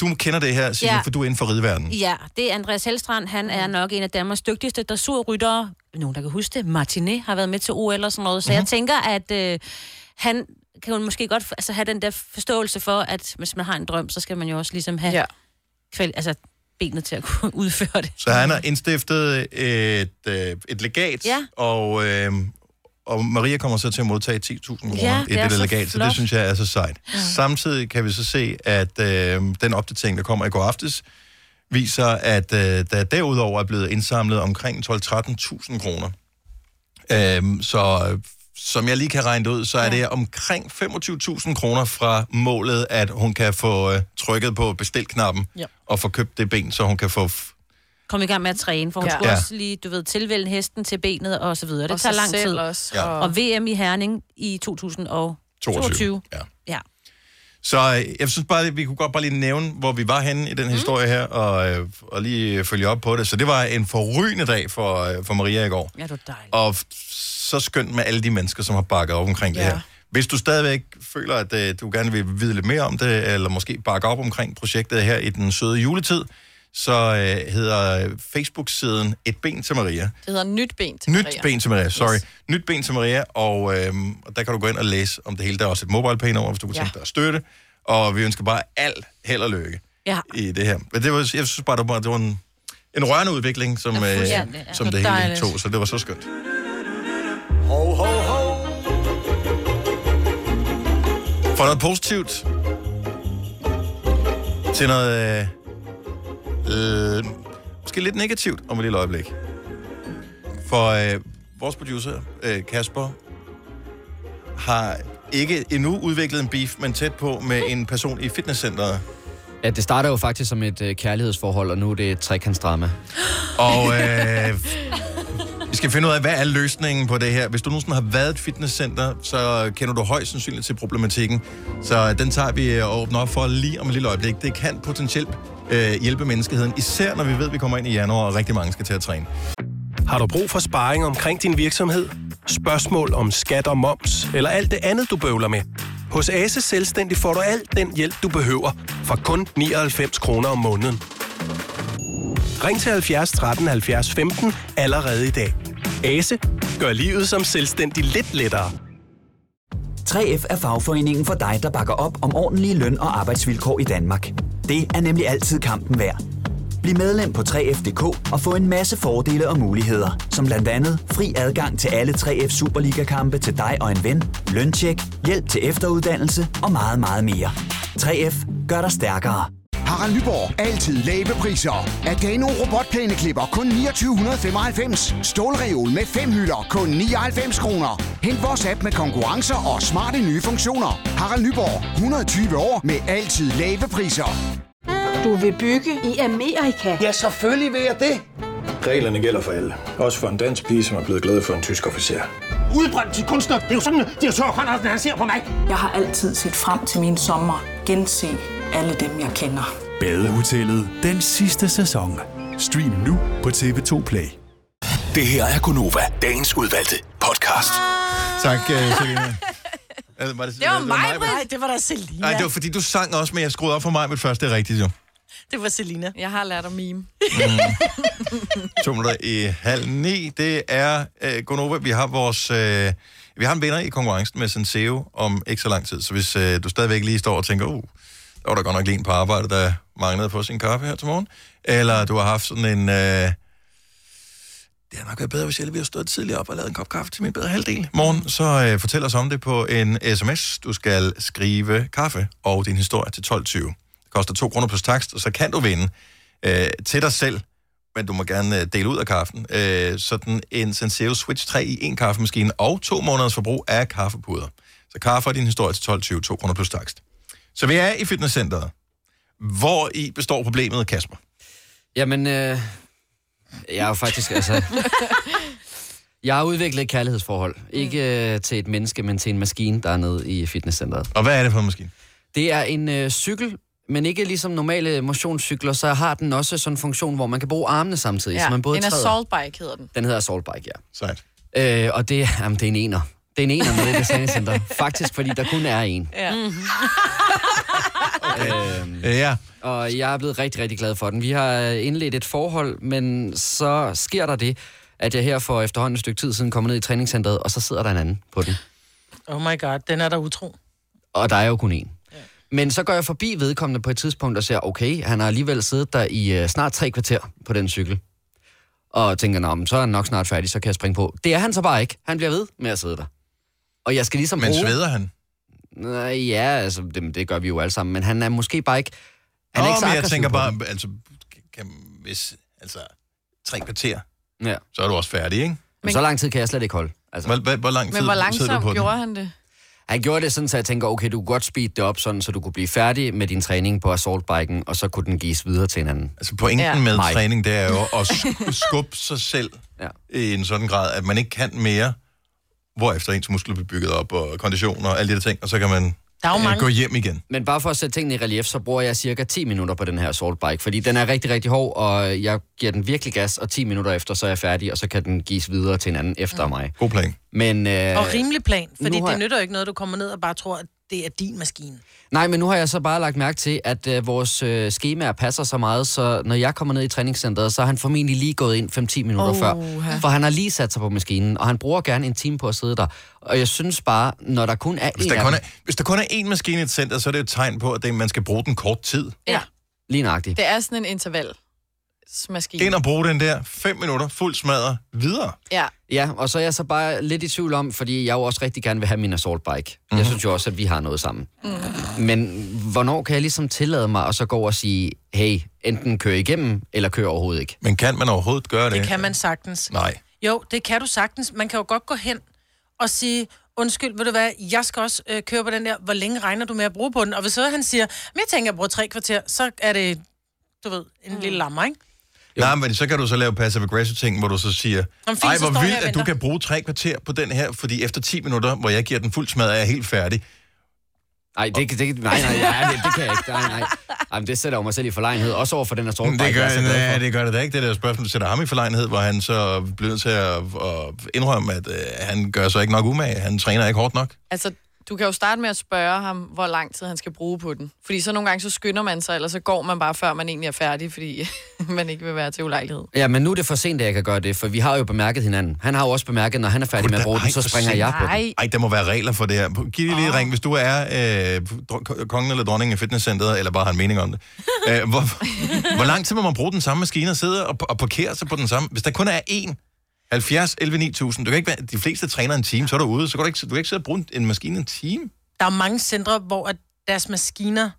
Du kender det her, Signe,
Ja.
ja. for du er inden for rideverdenen.
Ja, det er Andreas Helstrand. Han er nok en af Danmarks dygtigste dressurryttere. Nogen, der kan huske det. Martinet har været med til OL og sådan noget. Så mm-hmm.
Mhm.
jeg tænker, at øh, han kan jo måske godt altså, have den der forståelse for, at hvis man har en drøm, så skal man jo også ligesom have ja. kval- altså, benet til at kunne udføre det.
Så han har indstiftet et, øh, et legat,
Ja.
og, øh, og Maria kommer så til at modtage 10.000 kroner
Ja,
ja, i
det er
det, det
så
legat, så
flot.
det synes jeg er så sejt. Ja. Samtidig kan vi så se, at øh, den opdatering, der kommer i går aftes, viser, at øh, der derudover er blevet indsamlet omkring 12-13.000 kroner. Øhm, så øh, som jeg lige kan regne det ud, så er det omkring 25.000 kroner fra målet, at hun kan få øh, trykket på bestilknappen
Ja.
og få købt det ben, så hun kan få
Kom i gang med at træne, for hun
Ja.
skulle
Ja.
også lige, du ved, tilvælge hesten til benet og så videre. Det
Og
tager
sig
lang
selv
tid.
også,
Ja. og-
og... og VM i Herning i 2022.
22. Ja.
ja.
Så øh, jeg synes bare, at vi kunne godt bare lige nævne, hvor vi var henne i
Mhm.
den mm. historie her, og, øh, og lige øh, følge op på det. Så det var en forrygende dag for, øh, for Maria i går.
Ja, du er dejlig.
Og f- så skønt med alle de mennesker, som har bakket op omkring ja.
Ja.
det her. Hvis du stadigvæk føler, at øh, du gerne vil vide lidt mere om det, eller måske bakke op omkring projektet her i den søde juletid, så øh, hedder Facebook-siden Et Ben til Maria.
Det hedder nyt ben til
Nyt
Maria.
ben til Maria, sorry. Yes. Nyt ben til Maria, og, øhm, og der kan du gå ind og læse om det hele. Der er også et mobile pay over, hvis du kunne
Ja.
ja. tænke dig at støtte. Og vi ønsker bare alt held og lykke
Ja.
i det her. Men det var, jeg synes bare, det var, det var en, en rørende udvikling, som, ja, øh,
fuldstændig, ja.
som det hele
Dejligt.
tog, så det var så skønt.
Ho, ho, ho.
Fra noget positivt til noget... Øh, øh, måske lidt negativt om et lille øjeblik. For øh, vores producer, øh, Kasper, har ikke endnu udviklet en beef, men tæt på med en person i fitnesscenteret.
Ja, det starter jo faktisk som et øh, kærlighedsforhold, og nu er det et trekantsdrama.
Og øh, Vi skal finde ud af, hvad er løsningen på det her. Hvis du nogensinde har været i et fitnesscenter, så kender du højst sandsynligt til problematikken. Så den tager vi øh, og åbner op for lige om et lille øjeblik. Det kan potentielt øh, hjælpe menneskeheden, især når vi ved, at vi kommer ind i januar, og rigtig mange skal til at træne.
Har du brug for sparring omkring din virksomhed? Spørgsmål om skat og moms, eller alt det andet, du bøvler med? Hos Ase Selvstændig får du alt den hjælp, du behøver, for kun 99 kroner om måneden. Ring til 70 13 70 15 allerede i dag. Ase gør livet som selvstændig lidt lettere.
3F er fagforeningen for dig, der bakker op om ordentlige løn- og arbejdsvilkår i Danmark. Det er nemlig altid kampen værd. Bliv medlem på 3F.dk og få en masse fordele og muligheder, som blandt andet fri adgang til alle 3F Superliga-kampe til dig og en ven, løntjek, hjælp til efteruddannelse og meget, meget mere. 3F gør dig stærkere.
Harald Nyborg. Altid lave priser. Adano robotplæneklipper kun 2995. Stålreol med fem hylder kun 99 kroner. Hent vores app med konkurrencer og smarte nye funktioner. Harald Nyborg. 120 år med altid lave priser.
Du vil bygge i Amerika?
Ja, selvfølgelig vil jeg det.
Reglerne gælder for alle. Også for en dansk pige, som er blevet glad for en tysk officer.
Udbrændt til kunstner. Det er jo sådan, at de har tørt, han ser på mig.
Jeg har altid set frem til min sommer. Gense alle dem, jeg kender.
Badehotellet den sidste sæson. Stream nu på TV2 Play.
Det her er Gunova, dagens udvalgte podcast.
Tak, øh, Selina. Eller var det,
Det var mig, Nej, det var da Selina.
Nej, det var fordi, du sang også, men jeg skruede op for mig, men først det er rigtigt jo.
det var Selina.
Jeg har lært at mime.
Mm. To minutter i halv ni. Det er øh, Gonova. Vi har vores... Øh, vi har en vinder i konkurrencen med Senseo om ikke så lang tid. Så hvis øh, du stadigvæk lige står og tænker, uh, der var der godt nok lige en på arbejde, der manglede på sin kaffe her til morgen. Eller du har haft sådan en... Øh, det har nok været bedre, hvis jeg lige havde stået tidligere op og lavet en kop kaffe til min bedre halvdel. Morgen, så øh, fortæl os om det på en sms. Du skal skrive kaffe og din historie til 12.20. Det koster 2 kroner plus takst, og så kan du vinde øh, til dig selv, men du må gerne øh, dele ud af kaffen. Øh, sådan en Senseo Switch 3 i en kaffemaskine og to måneders forbrug af kaffepuder. Så kaffe og din historie til 12.20, 2 kroner plus takst. Så vi er i fitnesscenteret. Hvor i består problemet, Kasper?
Jamen, øh, jeg er jo faktisk, altså... Jeg har udviklet et kærlighedsforhold.
Mm.
Ikke øh, til et menneske, men til en maskine, der er nede i fitnesscenteret.
Og hvad er det for en maskine?
Det er en øh, cykel, men ikke ligesom normale motionscykler, så har den også sådan en funktion, hvor man kan bruge armene samtidig. så man både
en
træder.
assault bike hedder den.
Den hedder Assault Bike, ja.
Sejt.
Øh, og det, jamen, det er en ener. Det er en ener med i det sendecenter. Faktisk, fordi der kun er en.
Ja.
altså.
Øhm,
Øh, ja.
Og jeg er blevet rigtig, rigtig glad for den. Vi har øh, indledt et forhold, men så sker der det, at jeg her for efterhånden et stykke tid siden kommer ned i træningscenteret, og så sidder der en anden på den.
Oh my god, den er der utro.
Og der er jo kun én. Men så går jeg forbi vedkommende på et tidspunkt og ser, okay, han har alligevel siddet der i øh, snart tre kvarter på den cykel. Og tænker, nå, men så er han nok snart færdig, så kan jeg springe på. Det er han så bare ikke. Han bliver ved med at sidde der. Og jeg skal ligesom
Men
bruge...
sveder han?
Nå, ja, altså, det, det gør vi jo alle sammen. Men han er måske bare ikke...
Han
Han er
Nå,
ikke så
men jeg
aggressiv
tænker
på
bare,
den.
altså, kan, hvis, altså, tre kvarter,
ja.
så er du også færdig, ikke?
Men... Så lang tid kan jeg slet ikke holde. Altså.
Hvor, hvor, hvor lang
Men hvor langsomt gjorde han det?
Han gjorde det sådan, så jeg tænker, okay, du kunne godt speede det op, sådan, så du kunne blive færdig med din træning på assaultbiken, og så kunne den gives videre til en anden.
Altså Pointen ja. med træning, det er jo at sk- skubbe sig selv
ja.
i en sådan grad, at man ikke kan mere, hvorefter ens muskler bliver bygget op, og konditioner og alle de der ting, og så kan man
Der er jo
øh,
mange.
gå hjem igen.
Men bare for at sætte tingene i relief, så bruger jeg cirka 10 minutter på den her assaultbike, fordi den er rigtig, rigtig hård, og jeg giver den virkelig gas, og 10 minutter efter, så er jeg færdig, og så kan den gives videre til en anden efter mig.
Mm. God plan.
Men, øh,
Og rimelig plan, fordi
nu har
det
jeg-
nytter jo ikke noget, du kommer ned og bare tror, at det er din maskine.
Nej, men nu har jeg så bare lagt mærke til, at øh, vores øh, skemaer passer så meget, så når jeg kommer ned i træningscenteret, så er han formentlig lige gået ind 5-10 minutter
Oha.
før. For han har lige sat sig på maskinen, og han bruger gerne en time på at sidde der. Og jeg synes bare, når der kun er
Hvis
en
der,
af
kun er,
dem-
hvis der kun er én maskine i et center, så er det jo et tegn på, at det, man skal bruge den kort tid.
Ja.
Lige nøjagtigt.
Det er sådan en intervalsmaskine.
Ind og bruge den der, fem minutter, fuld smadret, videre.
Ja.
Ja, og så er jeg så bare lidt i tvivl om, fordi jeg jo også rigtig gerne vil have min assaultbike.
Mhm.
Mm-hmm. Jeg synes jo også, at vi har noget sammen.
Mhm.
Mm. Men hvornår kan jeg ligesom tillade mig at så gå over og sige, hey, enten kør igennem, eller kør overhovedet ikke?
Men kan man overhovedet gøre
Det kan man altså sagtens.
Nej.
Jo, det kan du sagtens. Man kan jo godt gå hen og sige, undskyld, ved du hvad, jeg skal også øh, køre på den der, hvor længe regner du med at bruge på den? Og hvis så han siger, men jeg tænker, jeg bruger tre kvarter, så er det, du ved, en mm. lille lammer, ikke?
Nej, men så kan du så lave passive-aggressive-ting, hvor du så siger,
Om fint,
ej,
så
hvor
står jeg
vildt,
og
at du
venter."
kan bruge tre kvarter på den her, fordi efter 10 minutter, hvor jeg giver den fuld smad, er jeg helt færdig.
Nej, det, det, nej, nej, nej, det, det kan jeg ikke. Nej, nej. Jamen, det sætter jo mig selv i forlegenhed, også over for den her
Men
sorgbar.
det gør, nej, det gør det da ikke, det der spørgsmål, du sætter ham i forlegenhed, hvor han så bliver nødt til at, at indrømme, at øh, han gør sig ikke nok umage, han træner ikke hårdt nok.
Altså, du kan jo starte med at spørge ham, hvor lang tid han skal bruge på den. Fordi så nogle gange, så skynder man sig, eller så går man bare, før man egentlig er færdig, fordi man ikke vil være til ulejlighed.
Ja, men nu er det for sent, at jeg kan gøre det, for vi har jo bemærket hinanden. Han har jo også bemærket, når han er færdig med at bruge den, så springer jeg på den.
Nej, Ej, der må være regler for det her. Giv lige oh. ring, hvis du er øh, dr- kongen eller dronningen af fitnesscenteret, eller bare har en mening om det. Æh, hvor, hvor lang tid må man bruge den samme maskine og sidde og, og parkere sig på den samme? Hvis der kun er én, 70, 11, 9000. Du kan ikke være, de fleste træner en time, så er du ude, så kan du ikke, du kan ikke sidde og bruge en- en maskine en time.
Der er jo mange centre, hvor at deres maskiner,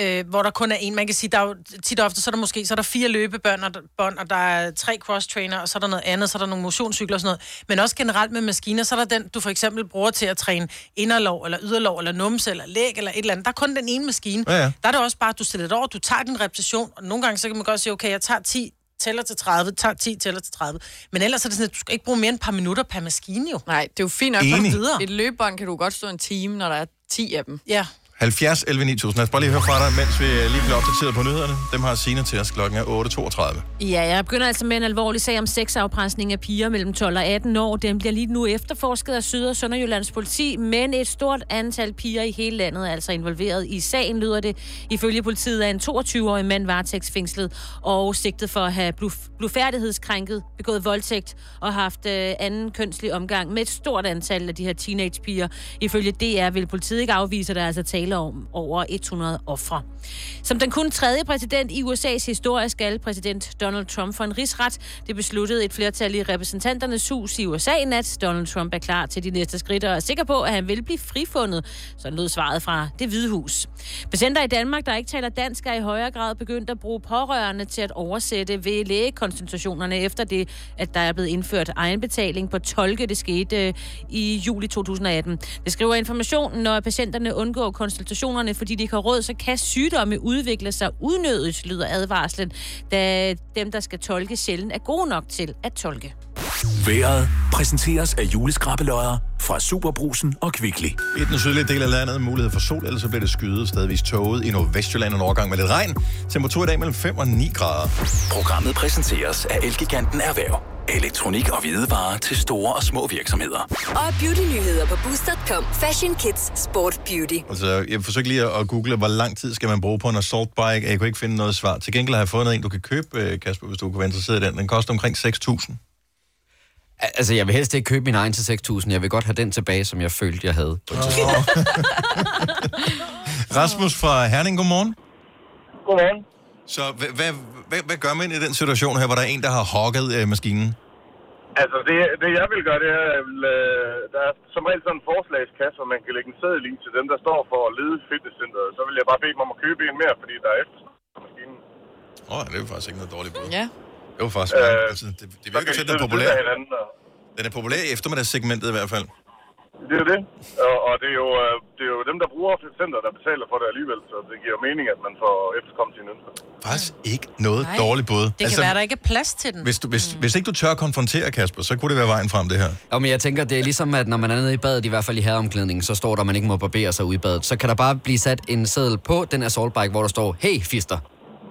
øh, hvor der kun er en. Man kan sige, der er jo tit og ofte, så er der måske så er der fire løbebånd, og, der- bånd, og der er tre cross-trainer, og så er der noget andet, så er der nogle motionscykler og sådan noget. Men også generelt med maskiner, så er der den, du for eksempel bruger til at træne inderlov, eller yderlov, eller numse, eller læg, eller et eller andet. Der er kun den ene maskine.
Ja, ja.
Der er det også bare, at du stiller det over, du tager din repetition, og nogle gange så kan man godt sige, okay, jeg tager 10 tæller til 30, tager 10 tæller til 30. Men ellers er det sådan, at du skal ikke bruge mere end et par minutter per maskine jo.
Nej, det er jo fint nok.
Enig.
Et løbebånd kan du godt stå en time, når der er 10 af dem.
Ja.
70, 11, 9000. Lad os bare lige høre fra dig, mens vi øh, lige bliver opdateret på nyhederne. Dem har Sina til os klokken er 8.32.
Ja, jeg begynder altså med en alvorlig sag om sexafpresning af piger mellem 12 og 18 år. Den bliver lige nu efterforsket af Syd- og Sønderjyllands politi, men et stort antal piger i hele landet er altså involveret i sagen, lyder det. Ifølge politiet er en 22-årig mand varetægtsfængslet og sigtet for at have bluf- blufærdighedskrænket, begået voldtægt og haft øh, anden kønslig omgang med et stort antal af de her teenagepiger. Ifølge DR vil politiet ikke afvise, at der er altså tale om over 100 ofre. Som den kun tredje præsident i USA's historie skal præsident Donald Trump for en rigsret. Det besluttede et flertal i repræsentanternes hus i USA i nat. Donald Trump er klar til de næste skridt og er sikker på, at han vil blive frifundet. Sådan lød svaret fra det hvide hus. Patienter i Danmark, der ikke taler dansk, er i højere grad begyndt at bruge pårørende til at oversætte ved lægekonsultationerne, efter det, at der er blevet indført egenbetaling på tolke. Det skete øh, i juli 2018. Det skriver informationen, når patienterne undgår konsultationerne, fordi de ikke har råd, så kan sygdomme udvikle sig unødigt, lyder advarslen, da dem, der skal tolke, sjældent er gode nok til at tolke.
Været præsenteres af juleskrabbeløjer fra Superbrusen og Kvickly.
I den sydlige del af landet mulighed for sol, ellers så bliver det skyet stadigvis tåget i Nordvestjylland og Nordgang med lidt regn. Temperatur i dag mellem 5 og 9 grader.
Programmet præsenteres af Elgiganten Erhverv. Elektronik og hvidevarer til store og små virksomheder.
Og beautynyheder på Boost.com. Fashion Kids Sport Beauty.
Altså, jeg forsøgte lige at at google, hvor lang tid skal man bruge på en assault bike. Jeg kunne ikke finde noget svar. Til gengæld har jeg fundet en, du kan købe, øh, Kasper, hvis du kunne være interesseret i den. Den koster omkring 6.000.
Altså, jeg vil helst ikke købe min egen til 6.000. Jeg vil godt have den tilbage, som jeg følte, jeg havde. på et tidspunkt.
Rasmus fra Herning, godmorgen.
Godmorgen.
Så hvad, hvad, hvad, hvad gør man i den situation her, hvor der er en, der har hogget øh, maskinen?
Altså, det, det jeg vil gøre, det er, jeg vil, øh, der er som regel sådan en forslagskasse, hvor man kan lægge en seddel i til dem, der står for at lede fitnesscenteret. Så vil jeg bare bede dem om at købe en mere, fordi der er efter.
Åh, oh, det er faktisk ikke noget dårligt bud.
Ja.
Det var faktisk... Øh, altså, det, det virker til, at den er populær. Den er populær i eftermiddagssegmentet i hvert fald.
Det er jo det. Og, og det, er jo, øh, det er jo dem, der bruger fitnesscenteret, der betaler for det alligevel. Så det giver jo mening, at man får efterkommet sine ønsker.
Faktisk ikke noget
Nej.
Nej. dårligt bud.
Det kan altså, være, der ikke er plads til den.
Hvis, du, hvis, mm. hvis ikke du tør at konfrontere Kasper, så kunne det være vejen frem, det her.
Og men jeg tænker, det er ligesom, at når man er nede i badet, i hvert fald i herreomklædningen, så står der, at man ikke må barbere sig ude i badet. Så kan der bare blive sat en seddel på den assaultbike, hvor der står, hey fister,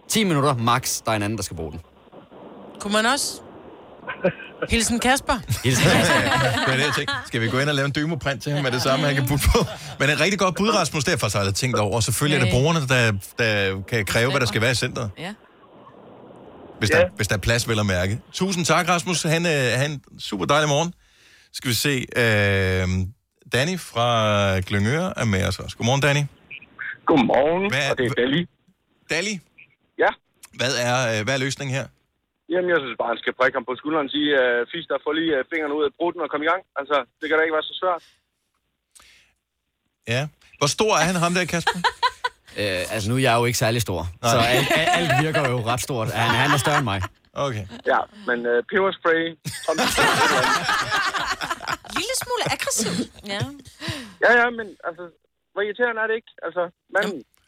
10 minutter max, der er en anden, der skal bruge den.
Kunne man også? Hilsen Kasper.
Hilsen Kasper.
Det var det, jeg tænkte. Skal vi gå ind og lave en dymoprint til ham med det samme, han kan putte på? Men et rigtig godt bud, Rasmus, det har jeg faktisk aldrig tænkt over. Og selvfølgelig er det
Nej.
brugerne, der, der kan kræve, hvad der skal være i centret.
Ja.
Hvis, der, hvis der er plads, vel at mærke. Tusind tak, Rasmus. Han er han, super dejlig morgen. Skal vi se. Øh, Danny fra Glyngøre er med os også. Godmorgen, Danny.
Godmorgen,
hvad, og det er
Dali.
Dali?
Ja.
Hvad er, øh, hvad er løsningen her?
Jamen, jeg synes bare, han skal prikke ham på skulderen og sige, øh, fisk der får lige øh, fingrene ud af brutten og kom i gang. Altså, det kan da ikke være så svært.
Ja. Hvor stor er han, ham der, Kasper?
Øh, altså, nu er jeg jo ikke særlig stor,
Nej.
Nej. så alt, alt- alt virker jo ret stort. Han, han er større end mig.
Okay.
Ja, men øh, peberspray,
Lille smule aggressiv. Ja.
Ja, ja, men altså, hvor irriterende er det ikke? Altså, man,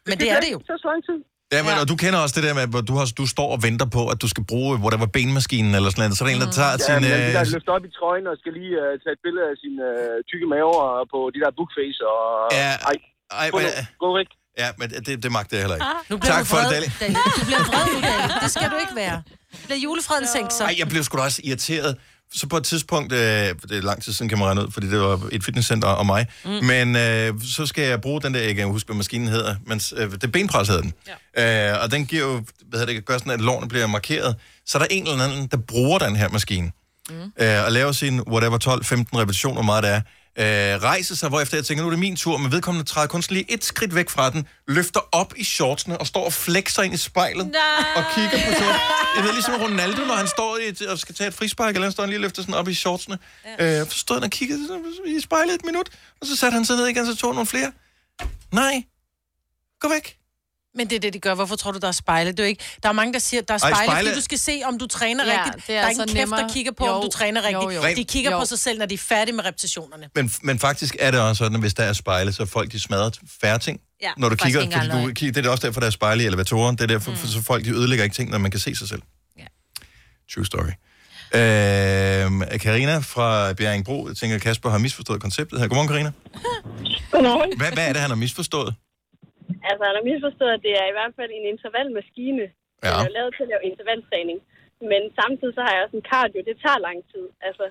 men det er det jo.
Så så lang tid.
Ja, men, og du kender også det der med, hvor du, har, du står og venter på, at du skal bruge whatever, benmaskinen eller sådan noget. Så er der en, der tager
Ja,
sin...
men
øh,
de der løfter op i trøjen og skal lige uh, tage et billede af sin uh, tykke maver på de der bookface og...
Ja,
ej,
ej,
gå, nu. gå væk.
Ja, men det, det magter jeg heller ikke.
Ah, nu
Ah,
bliver
tak
du
for det,
vred,
Dali.
David. Du bliver vred nu, David. Det skal du ikke være. Du bliver julefreden sænkt så.
Ej, jeg blev sgu da også irriteret. Så på et tidspunkt, øh, det er lang tid siden, kan man regne ud, fordi det var et fitnesscenter og mig, mm. men øh, så skal jeg bruge den der, jeg kan ikke huske, hvad maskinen hedder, men øh, det er benpres hedder den. Ja. Øh, og den giver jo, hvad hedder det, gør sådan, at lårene bliver markeret. Så er der en eller anden, der bruger den her maskine, mm. øh, og laver sin whatever 12-15 repetitioner, hvor meget det er, øh, rejser sig, hvorefter jeg tænker, nu er det min tur, men vedkommende træder kun sådan lige et skridt væk fra den, løfter op i shortsene og står og flexer ind i spejlet og kigger på shorts. Jeg ved ligesom Ronaldo, når han står i et, og skal tage et frispark, eller han står han lige og løfter sådan op i shortsene. Ja. Øh, så stod han og kiggede sådan i spejlet et minut, og så satte han sig ned igen, så tog han nogle flere. Nej, gå væk.
Men det er det, de gør. Hvorfor tror du, der er spejle? Det er jo ikke... Der er mange, der siger, der
Ej,
er spejle, Ej,
spejle-
spejle. fordi du skal se, om du træner
Ja,
ja, rigtigt.
det
Der
er
er ingen
altså
kæft, der
nemmere.
kigger på,
Jo,
om du træner
jo,
rigtigt.
jo.
De kigger
Jo.
på sig selv, når de er færdige med repetitionerne.
Men, men faktisk er det også sådan, at hvis der er spejle, så er folk de smadrer færre ting.
Ja,
når du
faktisk
kigger,
ikke
fordi
engang
du
løgn.
kigger, det er også derfor, der er spejle i elevatoren. Det er derfor, mm. så folk de ødelægger ikke ting, når man kan se sig selv. Ja. True story. Øh, Karina fra Bjerringbro, jeg tænker, Kasper har misforstået konceptet her. Godmorgen, Karina.
Godmorgen.
Hvad, hvad er det, han har misforstået?
Altså, han har misforstået, at det er i hvert fald en intervalmaskine.
Ja.
Ja. Den er jo lavet til at lave intervaltræning. Men samtidig så har jeg også en cardio. Det tager lang tid. Altså,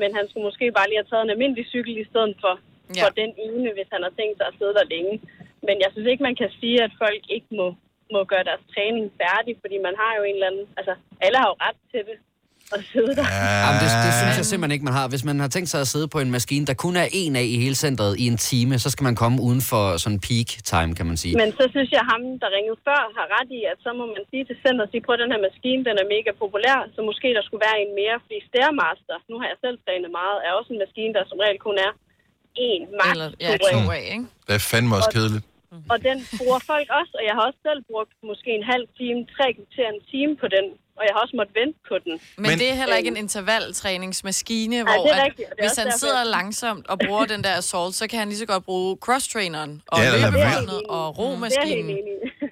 men han skulle måske bare lige have taget en almindelig cykel i stedet for, ja. for den ene, hvis han har tænkt sig at sidde der længe. Men jeg synes ikke, man kan sige, at folk ikke må, må gøre deres træning færdig, fordi man har jo en eller anden... Altså, alle har jo ret til det at sidde der.
Jamen, det, det synes jeg simpelthen ikke, man har. Hvis man har tænkt sig at sidde på en maskine, der kun er en af i hele centret i en time, så skal man komme uden for sådan peak time, kan man sige.
Men så synes jeg, at ham, der ringede før, har ret i, at så må man sige til centret, sige, prøv den her maskine, den er mega populær, så måske der skulle være en mere, fordi Stairmaster, nu har jeg selv trænet meget, er også en maskine, der som regel kun er en max. Eller,
ja, to af, ikke? Mhm.
Det er fandme også kedeligt.
Og den bruger folk også, og jeg har også selv brugt måske en halv time, tre til en time på den, og jeg har også måttet vente på den.
Men, men det er heller ikke en intervaltræningsmaskine, hvor
det er
at
rigtigt, og det er
hvis
også
han
derfor,
sidder
jeg-
langsomt og bruger den der assault, så kan han lige så godt bruge crosstraineren og
Ja,
ja,
eller lad være.
løbebåndet og romaskinen.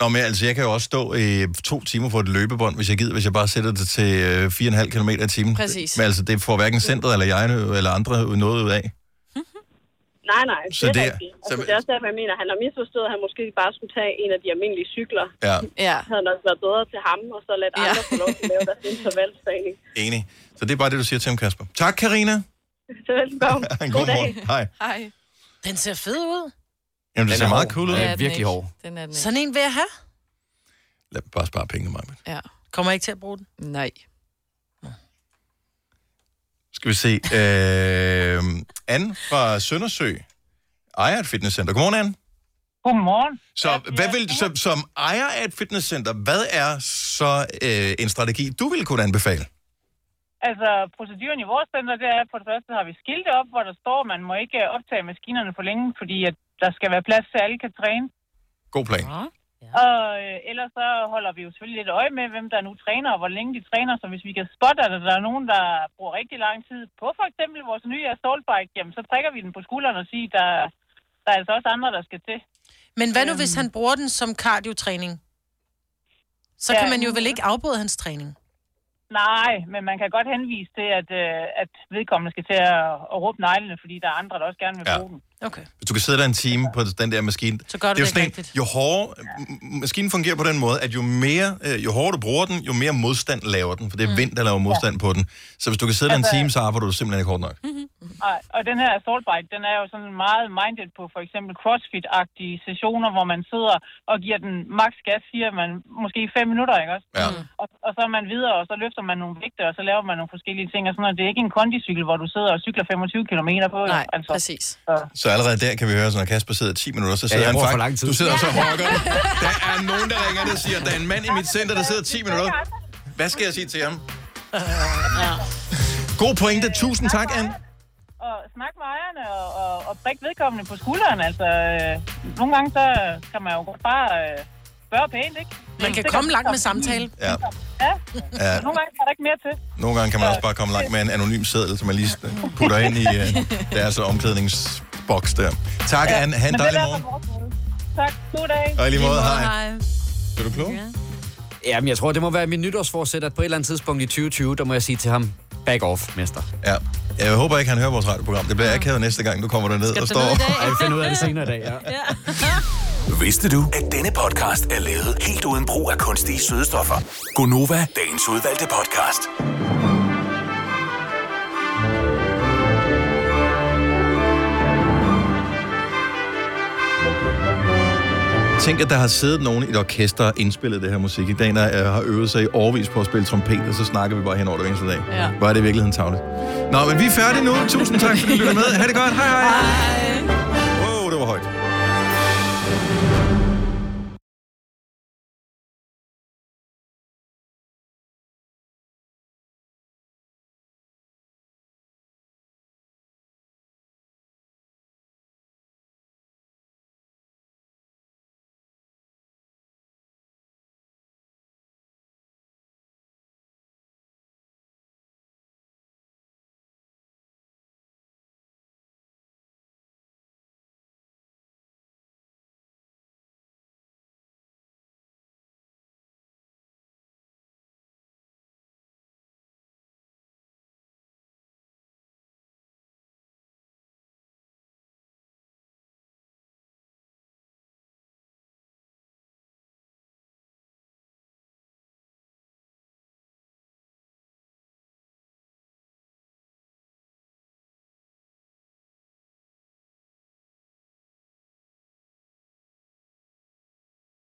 Nå, men altså, jeg kan jo også stå i to timer for et løbebånd, hvis jeg gider, hvis jeg bare sætter det til øh, 4,5 km i timen.
Præcis.
Men altså, det får hverken centret eller jeg eller andre noget ud af.
Nej, nej, det
Så
er
det er-
rigtigt.
så-
Altså, det er også derfor, jeg mener, at han har misforstået, at han måske bare skulle tage en af de almindelige cykler.
Ja.
Ja. Havde nok været bedre til ham, og så ladt andre få lov til at lave deres intervaltræning.
Enig. Så det er bare det, du siger til ham, Kasper. Tak, Karina.
Så velkommen.
God morgen. Hej.
Hej.
Den ser fed ud.
Jamen, det ser meget cool ud.
Ja, den ikke.
Den er den
Sådan en vil jeg have.
Lad mig bare spare pengene, Maja.
Ja.
Kommer jeg ikke til at bruge den?
Nej.
Skal vi se. Øh, Anne fra Søndersø ejer et fitnesscenter. Godmorgen, Anne.
Godmorgen.
Så, hvad vil, så som ejer af et fitnesscenter, hvad er så øh, en strategi, du ville kunne anbefale?
Altså, proceduren i vores center, det er, at for det første har vi skilte op, hvor der står, at man må ikke øh, optage maskinerne for længe, fordi at der skal være plads til, at alle kan træne.
God plan.
Ja. Og øh, ellers så holder vi jo selvfølgelig lidt øje med, hvem der nu træner, og hvor længe de træner. Så hvis vi kan spotte, at der er nogen, der bruger rigtig lang tid på for eksempel vores nye assault bike, jamen så trækker vi den på skulderen og siger, der, der er altså også andre, der skal til.
Men hvad nu, hvis han bruger den som kardiotræning? Så kan
Ja.
man jo vel ikke afbryde hans træning.
Nej, men man kan godt henvise til, at, øh, at vedkommende skal til at, at råbe neglene, fordi der er andre, der også gerne vil
Ja.
ja. bruge den.
Okay.
Hvis du kan sidde der en time på den der maskine.
Så gør du
er jo
det
sådan
ikke
en- Jo hårdere... m- Maskinen fungerer på den måde, at jo, mere, øh, jo hårdere du bruger den, jo mere modstand laver den. For det er vind, der laver modstand på den. Så hvis du kan sidde der
Altså-
en time, så arbejder du simpelthen ikke hårdt nok.
Nej, og den her assault bike, den er jo sådan meget minded på for eksempel crossfit-agtige sessioner, hvor man sidder og giver den max gas, siger man, måske i fem minutter, ikke også?
Mm.
Ja.
Og, og, så er man videre, og så løfter man nogle vægte, og så laver man nogle forskellige ting, og sådan noget. Det er ikke en kondicykel, hvor du sidder og cykler 25 km på. Nej, altså.
præcis.
Så.
Så allerede der kan vi høre, at når Kasper sidder 10 minutter, så sidder
jeg
han faktisk...
bruger for lang tid.
Du sidder også og rocker. Der er nogen, der ringer ned og siger, at der er en mand i mit center, der sidder 10 minutter. Hvad skal jeg sige til ham? God pointe. Tusind tak, Anne.
Og snak med ejerne og, og, og prik vedkommende på skulderen, altså. Øh, nogle gange så kan man jo godt bare øh, spørge pænt, ikke?
Man kan komme langt med samtale.
Ja.
Ja.
Ja.
ja. Nogle gange er der ikke mere til.
Nogle gange kan man også bare komme langt med en anonym seddel, som man lige putter ind i øh, deres omklædningsboks der. Tak, Anne. Ha' en
men det er
dejlig
derfor
morgen.
vores måde. Tak. God dag.
Og i lige måde, hej. Er du klog?
Jamen, jeg tror, det må være min nytårsforsæt, at på et eller andet tidspunkt i 2020, der må jeg sige til ham, back off, mester.
Ja. Jeg håber ikke, han hører vores radioprogram. Det bliver akavet næste gang, du kommer derned og står...
Jeg finder ud af det senere i dag, ja.
Vidste du, at denne podcast er lavet helt uden brug af kunstige sødestoffer? Gonova, dagens udvalgte podcast.
Tænk, at der har siddet nogen i et orkester og indspillet det her musik. I dag når jeg har øvet sig i overvis på at spille trompet, og så snakker vi bare hen over det eneste dag.
Ja.
Hvor er det i virkeligheden tavlet. Nå, men vi er færdige nu. Tusind tak, fordi du lyttede med. Ha' det godt. Hej hej. hej.